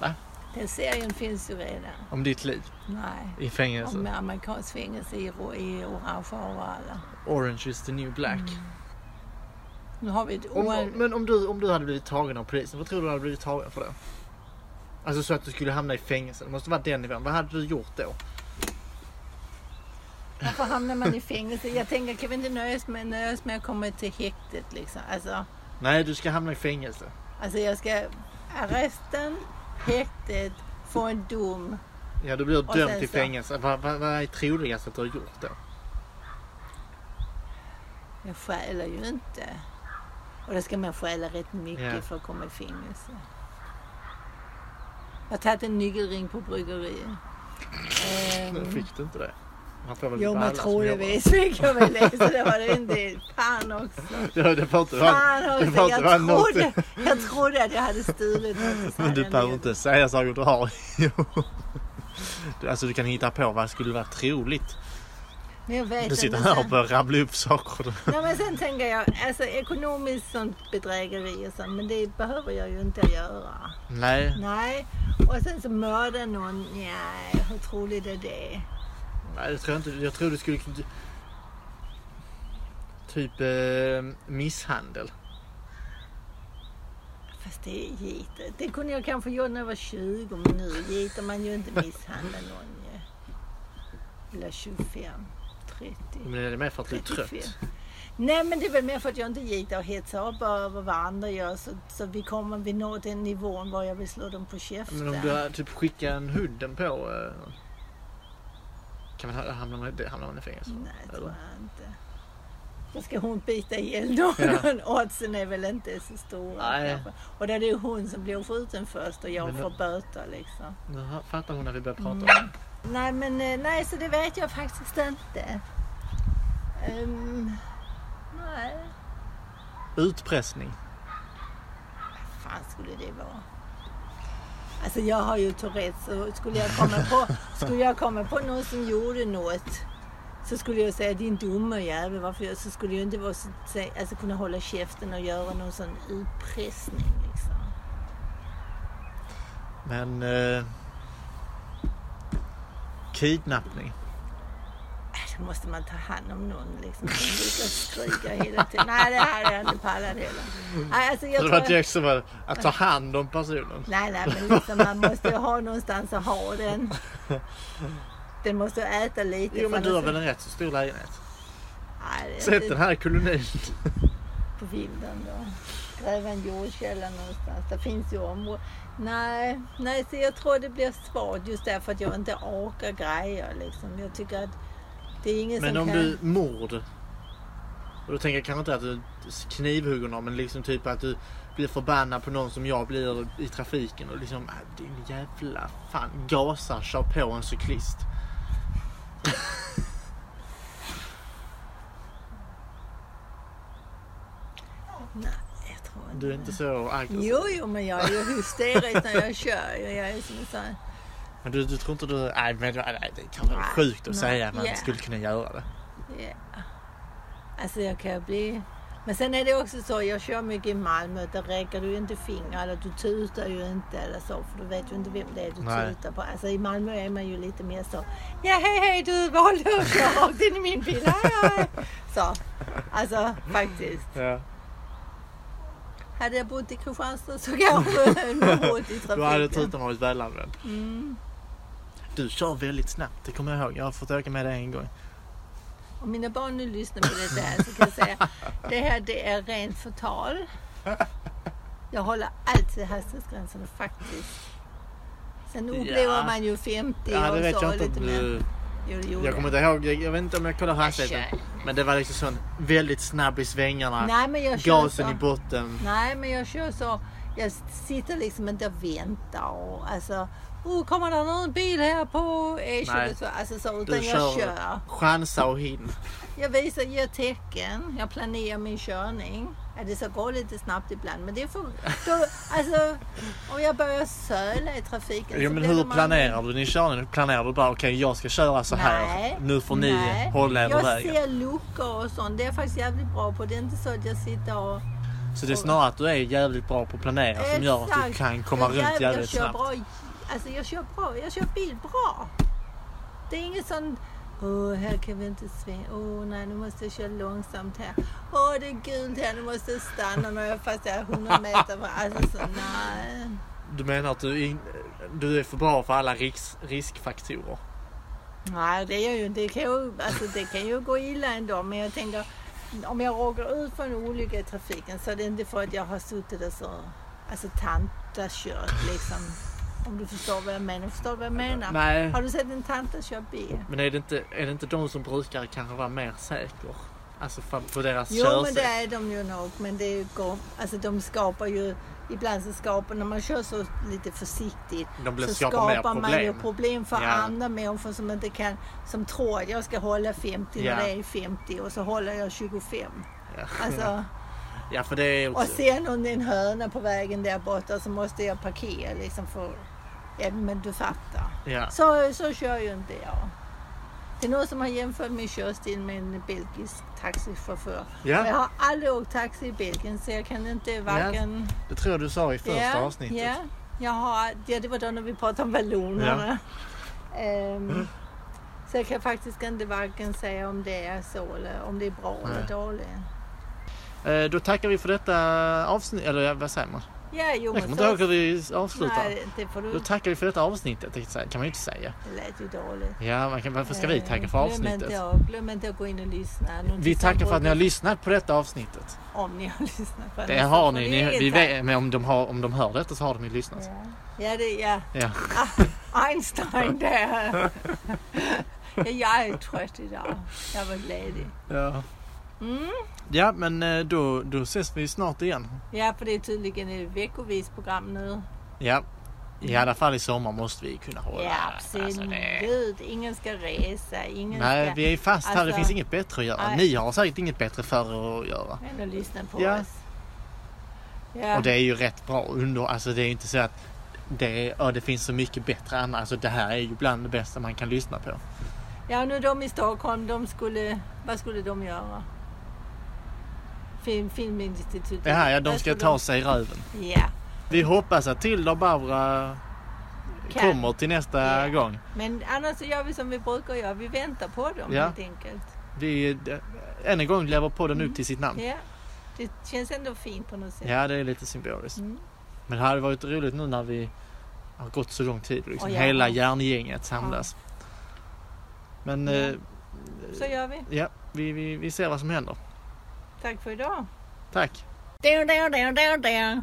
Speaker 1: Va?
Speaker 2: Den serien finns ju redan.
Speaker 1: Om ditt liv
Speaker 2: Nej.
Speaker 1: i fängelse.
Speaker 2: Om amerikansk fängelse i, ro- i orange overaller.
Speaker 1: Orange is the new black.
Speaker 2: Mm. Nu har vi ett
Speaker 1: Om,
Speaker 2: oan...
Speaker 1: men om du, om du hade blivit tagen av polisen, vad tror du hade blivit tagen för då? Alltså så att du skulle hamna i fängelse. Det måste vara den nivån. Vad hade du gjort då?
Speaker 2: Varför hamnar man i fängelse? Jag tänker, kan vi inte nöja oss med, nöja oss med att komma till häktet liksom? Alltså,
Speaker 1: Nej, du ska hamna i fängelse.
Speaker 2: alltså jag ska... Arresten, häktet, få en dom.
Speaker 1: Ja, du blir
Speaker 2: Och
Speaker 1: dömd
Speaker 2: sen
Speaker 1: till
Speaker 2: så-
Speaker 1: fängelse. Vad, vad, vad är troligast att du har gjort då?
Speaker 2: Jag stjäler ju inte. Och då ska man stjäla rätt mycket
Speaker 1: Ja.
Speaker 2: för att komma i fängelse. Jag har tagit en nyckelring på bryggeriet.
Speaker 1: Nu
Speaker 2: Um,
Speaker 1: Fick du inte det? Man får väl
Speaker 2: jo
Speaker 1: bara
Speaker 2: men
Speaker 1: alla Ehm, som jobbar.
Speaker 2: troligtvis fick jag väl det. Så det var det en del. Fan också.
Speaker 1: Ja, det får inte vara...
Speaker 2: Fan
Speaker 1: det var
Speaker 2: också.
Speaker 1: inte bara
Speaker 2: Jag
Speaker 1: något.
Speaker 2: trodde, jag trodde att jag hade stulit något. så
Speaker 1: Men
Speaker 2: hade
Speaker 1: du
Speaker 2: jag
Speaker 1: behöver
Speaker 2: nyckelring.
Speaker 1: inte säga saker du har Du- Alltså du kan hitta på vad skulle vara troligt.
Speaker 2: Men jag vet
Speaker 1: Du sitter
Speaker 2: inte.
Speaker 1: här och börjar rabbla upp saker.
Speaker 2: Nej, men sen tänker jag, alltså ekonomiskt sånt bedrägeri och sånt, men det behöver jag ju inte göra.
Speaker 1: Nej,
Speaker 2: Nej, och sen så mörda någon, nej, hur troligt är det?
Speaker 1: nej det tror jag inte. Jag tror du skulle... Typ eh, misshandel.
Speaker 2: Fast det är gitet. Det kunde jag kanske gjort när jag var 20, men nu giter man ju inte misshandla någon ju. Eller 25.
Speaker 1: Men
Speaker 2: 30.
Speaker 1: det är mer för att du är
Speaker 2: 34.
Speaker 1: trött.
Speaker 2: Nej men det är väl mer för att jag inte gillar att hetsa upp över vad andra gör så, så vi kommer, vi når den nivån var jag vill slå dem på käften.
Speaker 1: Men om du har- typ skickar en hudden på... eh, Kan man, ha- hamnar, man, det hamnar man i fängelse?
Speaker 2: Nej, det tror
Speaker 1: Eller?
Speaker 2: jag inte. Då ska hon bita ihjäl någon. Oddsen är väl inte så stora.
Speaker 1: Nej.
Speaker 2: kanske. Och då är det ju hon som blir skjuten först och jag
Speaker 1: Men-
Speaker 2: får böter liksom.
Speaker 1: Jaha, Fattar hon när vi börjar prata om
Speaker 2: Mm.
Speaker 1: det?
Speaker 2: Nej, men eh, nej, så det vet jag faktiskt inte. Ehm, nej,
Speaker 1: Utpressning.
Speaker 2: vad fan skulle det vara? Alltså jag har ju Tourettes och skulle jag komma på, skulle jag komma på någon som gjorde något så skulle jag säga din dumma jävel, varför jag, så skulle jag inte vara så, sä- alltså, kunna hålla käften och göra någon sån utpressning liksom.
Speaker 1: Men... Eh, kidnappning.
Speaker 2: Äh, Då måste man ta hand om någon liksom som brukar skrika hela tiden. Nej, det här hade jag inte pallat heller. Nej, alltså, jag
Speaker 1: Så det
Speaker 2: tror
Speaker 1: var
Speaker 2: jag-
Speaker 1: direkt som var att ta hand om personen.
Speaker 2: Nej, nej, men liksom, man måste ju ha någonstans att ha den. Den måste ju äta lite.
Speaker 1: Jo men
Speaker 2: för
Speaker 1: du har
Speaker 2: annars-
Speaker 1: väl en rätt så stor lägenhet?
Speaker 2: Nej, det är
Speaker 1: Sätt
Speaker 2: inte
Speaker 1: den här i kolonin.
Speaker 2: på bilden då. Gräva en jordkälla någonstans. Det finns ju områden. Nej, nej, så jag tror det blir svårt just därför att jag inte orkar grejer liksom. Jag tycker att det är ingen
Speaker 1: Men
Speaker 2: som
Speaker 1: om
Speaker 2: kan...
Speaker 1: du mord. Och då tänker jag kanske inte att du knivhugger någon men liksom typ att du blir förbannad på någon som jag blir i trafiken och liksom "Ah, din jävla fan gasar, kör på en cyklist.
Speaker 2: Nej, jag tror inte
Speaker 1: Du är inte så aggressiv.
Speaker 2: Jo, jo, men jag är ju hysterisk när jag kör. Jag är som en sån...
Speaker 1: Men du, du tror inte du... Nej men nej, det kan vara
Speaker 2: Nej,
Speaker 1: sjukt att
Speaker 2: nej,
Speaker 1: säga att man
Speaker 2: ja.
Speaker 1: skulle kunna göra det.
Speaker 2: Ja. Alltså jag kan ju bli... Men sen är det också så, jag kör mycket i Malmö, där räcker du ju inte fingrar eller du tutar ju inte eller så, för du vet ju inte vem det är du
Speaker 1: Nej.
Speaker 2: tutar på. Alltså i Malmö är man ju lite mer så, ja hej hej du valde att köra rakt in i min bil, hej hej! Så, alltså faktiskt.
Speaker 1: Ja.
Speaker 2: Hade jag bott i Kristianstad så kanske en mord i
Speaker 1: Då hade
Speaker 2: trafiken.
Speaker 1: tutan varit välanvänd.
Speaker 2: Mm.
Speaker 1: Du kör väldigt snabbt, det kommer jag ihåg. Jag har fått öka med det en gång.
Speaker 2: Om mina barn nu lyssnar på det här så kan jag säga det här det är rent förtal. Jag håller alltid hastighetsgränserna faktiskt. Sen upplever
Speaker 1: Ja.
Speaker 2: man ju 50
Speaker 1: Ja, det
Speaker 2: och
Speaker 1: vet
Speaker 2: så
Speaker 1: jag inte om
Speaker 2: lite mer.
Speaker 1: du...
Speaker 2: Jo, det gjorde
Speaker 1: Jag kommer inte ihåg, jag, jag vet inte om jag kollar hastigheten.
Speaker 2: Jag kör.
Speaker 1: Men det var liksom sån väldigt snabb i svängarna.
Speaker 2: Nej, men jag kör
Speaker 1: gasen
Speaker 2: så.
Speaker 1: i botten.
Speaker 2: Nej, men jag kör så. Jag sitter liksom inte och väntar och alltså, oh, kommer det någon bil här på
Speaker 1: Nej.
Speaker 2: E22? Alltså så,
Speaker 1: Du
Speaker 2: utan jag kör.
Speaker 1: chansa och hin.
Speaker 2: Jag visar, ger tecken, jag planerar min körning. Ja, det ska gå lite snabbt ibland, men det får... Då, alltså, om jag börjar söla i trafiken
Speaker 1: Jo,
Speaker 2: så
Speaker 1: men
Speaker 2: blir det
Speaker 1: hur
Speaker 2: man-
Speaker 1: planerar du din körning? Planerar du bara okej jag ska köra så här.
Speaker 2: Nej,
Speaker 1: nu får ni
Speaker 2: nej.
Speaker 1: hålla er ur
Speaker 2: Jag
Speaker 1: vägen.
Speaker 2: ser luckor och sånt. Det är jag faktiskt jävligt bra på. Det är inte så att jag sitter och...
Speaker 1: Så det är snarare att du är jävligt bra på att planera som gör att du
Speaker 2: Exakt.
Speaker 1: kan komma
Speaker 2: jag,
Speaker 1: runt
Speaker 2: jag
Speaker 1: jävligt
Speaker 2: kör
Speaker 1: snabbt.
Speaker 2: Bra, alltså jag kör bra. Jag kör bil bra. Det är inget sån... Åh, här kan vi inte svänga. Åh, nej, nu måste jag köra långsamt här. Åh, det är gult här. Nu måste jag stanna när jag fast jag är 100 meter från... Alltså, så, nej.
Speaker 1: Du menar att du, in, du är för bra för alla riks, riskfaktorer?
Speaker 2: Nej, det, är ju, det, kan ju, alltså, det kan ju gå illa ändå. Men jag tänker, om jag råkar ut för en olycka i trafiken så är det inte för att jag har suttit och så... Alltså, tanta kört liksom. Om du förstår vad jag menar. Förstår du vad jag menar?
Speaker 1: Nej.
Speaker 2: Har du sett en tanta köra bil?
Speaker 1: Men är det, inte, är det inte de som brukar kanske vara mer säker? Alltså fa- på deras
Speaker 2: Jo, men
Speaker 1: körsätt?
Speaker 2: det är de ju nog. Men det går, alltså de skapar ju... Ibland så skapar... När man kör så lite försiktigt
Speaker 1: De blir
Speaker 2: så
Speaker 1: skapar mer
Speaker 2: skapar man ju
Speaker 1: problem.
Speaker 2: problem för
Speaker 1: Ja.
Speaker 2: andra människor som inte kan... Som tror att jag ska hålla 50
Speaker 1: Ja.
Speaker 2: när det är 50 och så håller jag 25.
Speaker 1: Ja.
Speaker 2: Alltså,
Speaker 1: Ja för det är
Speaker 2: och
Speaker 1: också...
Speaker 2: sen om det är en höna på vägen där borta så måste jag parkera liksom för... Ja, men du fattar.
Speaker 1: Ja.
Speaker 2: Så, så kör ju inte jag. Det är någon som har jämfört min körstil med en belgisk taxichaufför. Och Jag
Speaker 1: ja,
Speaker 2: har aldrig åkt taxi i Belgien så jag kan inte varken...
Speaker 1: det tror jag du sa i första
Speaker 2: Ja,
Speaker 1: avsnittet.
Speaker 2: Ja, jag har, ja, det var då när vi pratade om vallonerna. Ehm,
Speaker 1: Mm.
Speaker 2: Så jag kan faktiskt inte varken säga om det är så eller om det är bra
Speaker 1: Nej.
Speaker 2: eller dåligt.
Speaker 1: Eh, Då tackar vi för detta avsnitt, eller vad säger man?
Speaker 2: Ja, jo,
Speaker 1: Jag
Speaker 2: men
Speaker 1: kommer inte ihåg hur vi avslutar.
Speaker 2: Nej, det får du
Speaker 1: Då
Speaker 2: inte.
Speaker 1: tackar vi för detta avsnittet. tänkte jag säga. kan man ju inte säga.
Speaker 2: Det lät ju dåligt.
Speaker 1: Ja, man kan, varför ska vi
Speaker 2: Eh,
Speaker 1: tacka för
Speaker 2: Glöm inte,
Speaker 1: avsnittet?
Speaker 2: att- glöm inte att gå in och lyssna.
Speaker 1: Vi tackar för att ni har lyssnat på detta avsnittet.
Speaker 2: lyssnat. Om ni har lyssnat. För
Speaker 1: Det
Speaker 2: annars
Speaker 1: har
Speaker 2: får
Speaker 1: ni.
Speaker 2: ju
Speaker 1: ni
Speaker 2: inget
Speaker 1: vi
Speaker 2: tack.
Speaker 1: vet, men om de, har, om de hör detta så har de ju lyssnat.
Speaker 2: Ja, ja, det, ja.
Speaker 1: Ja.
Speaker 2: Ah, Einstein där. ja, jag är trött idag. Jag var ledig.
Speaker 1: Ja,
Speaker 2: Mm.
Speaker 1: ja men eh, då, då ses vi snart igen.
Speaker 2: Ja, för det är tydligen ett veckovis program nu.
Speaker 1: Ja. I alla fall i sommar måste vi kunna hålla.
Speaker 2: Ja,
Speaker 1: Alltså, det-
Speaker 2: absolut. Ingen ska resa. Ingen
Speaker 1: Nej,
Speaker 2: ska
Speaker 1: vi är fast här. Det
Speaker 2: Alltså-
Speaker 1: finns inget bättre att göra.
Speaker 2: Nej.
Speaker 1: Ni har säkert inget bättre för att göra.
Speaker 2: än att lyssna på
Speaker 1: Ja.
Speaker 2: oss. Ja.
Speaker 1: Och det är ju rätt bra under. Alltså det är ju inte så att det, är, ja, det finns så mycket bättre annars. Alltså, det här är ju bland det bästa man kan lyssna på.
Speaker 2: ja, nu de i Stockholm, de skulle, vad skulle de göra? Film, Filminstitutet.
Speaker 1: Det här, ja,
Speaker 2: Vad
Speaker 1: de ska
Speaker 2: skulle
Speaker 1: ta sig i röven.
Speaker 2: Ja,
Speaker 1: Vi hoppas att Tilda och Barbara
Speaker 2: Kan.
Speaker 1: kommer till nästa
Speaker 2: Ja.
Speaker 1: gång.
Speaker 2: men annars så gör vi som vi brukar göra. Vi väntar på dem
Speaker 1: Ja.
Speaker 2: helt enkelt.
Speaker 1: Vi, d- än en gång lever podden upp till sitt namn.
Speaker 2: Ja. Det känns ändå fint på något sätt.
Speaker 1: Ja, det är lite symboliskt.
Speaker 2: Typ. Mm.
Speaker 1: Men det hade varit roligt nu när vi har gått så lång tid. Liksom.
Speaker 2: Och ja.
Speaker 1: Hela järngänget samlas. Men
Speaker 2: Ja.
Speaker 1: eh,
Speaker 2: Så gör vi.
Speaker 1: ja, vi, vi, vi ser vad som händer.
Speaker 2: Tack för idag.
Speaker 1: Tack!
Speaker 2: Dun, dun, dun, dun, dun.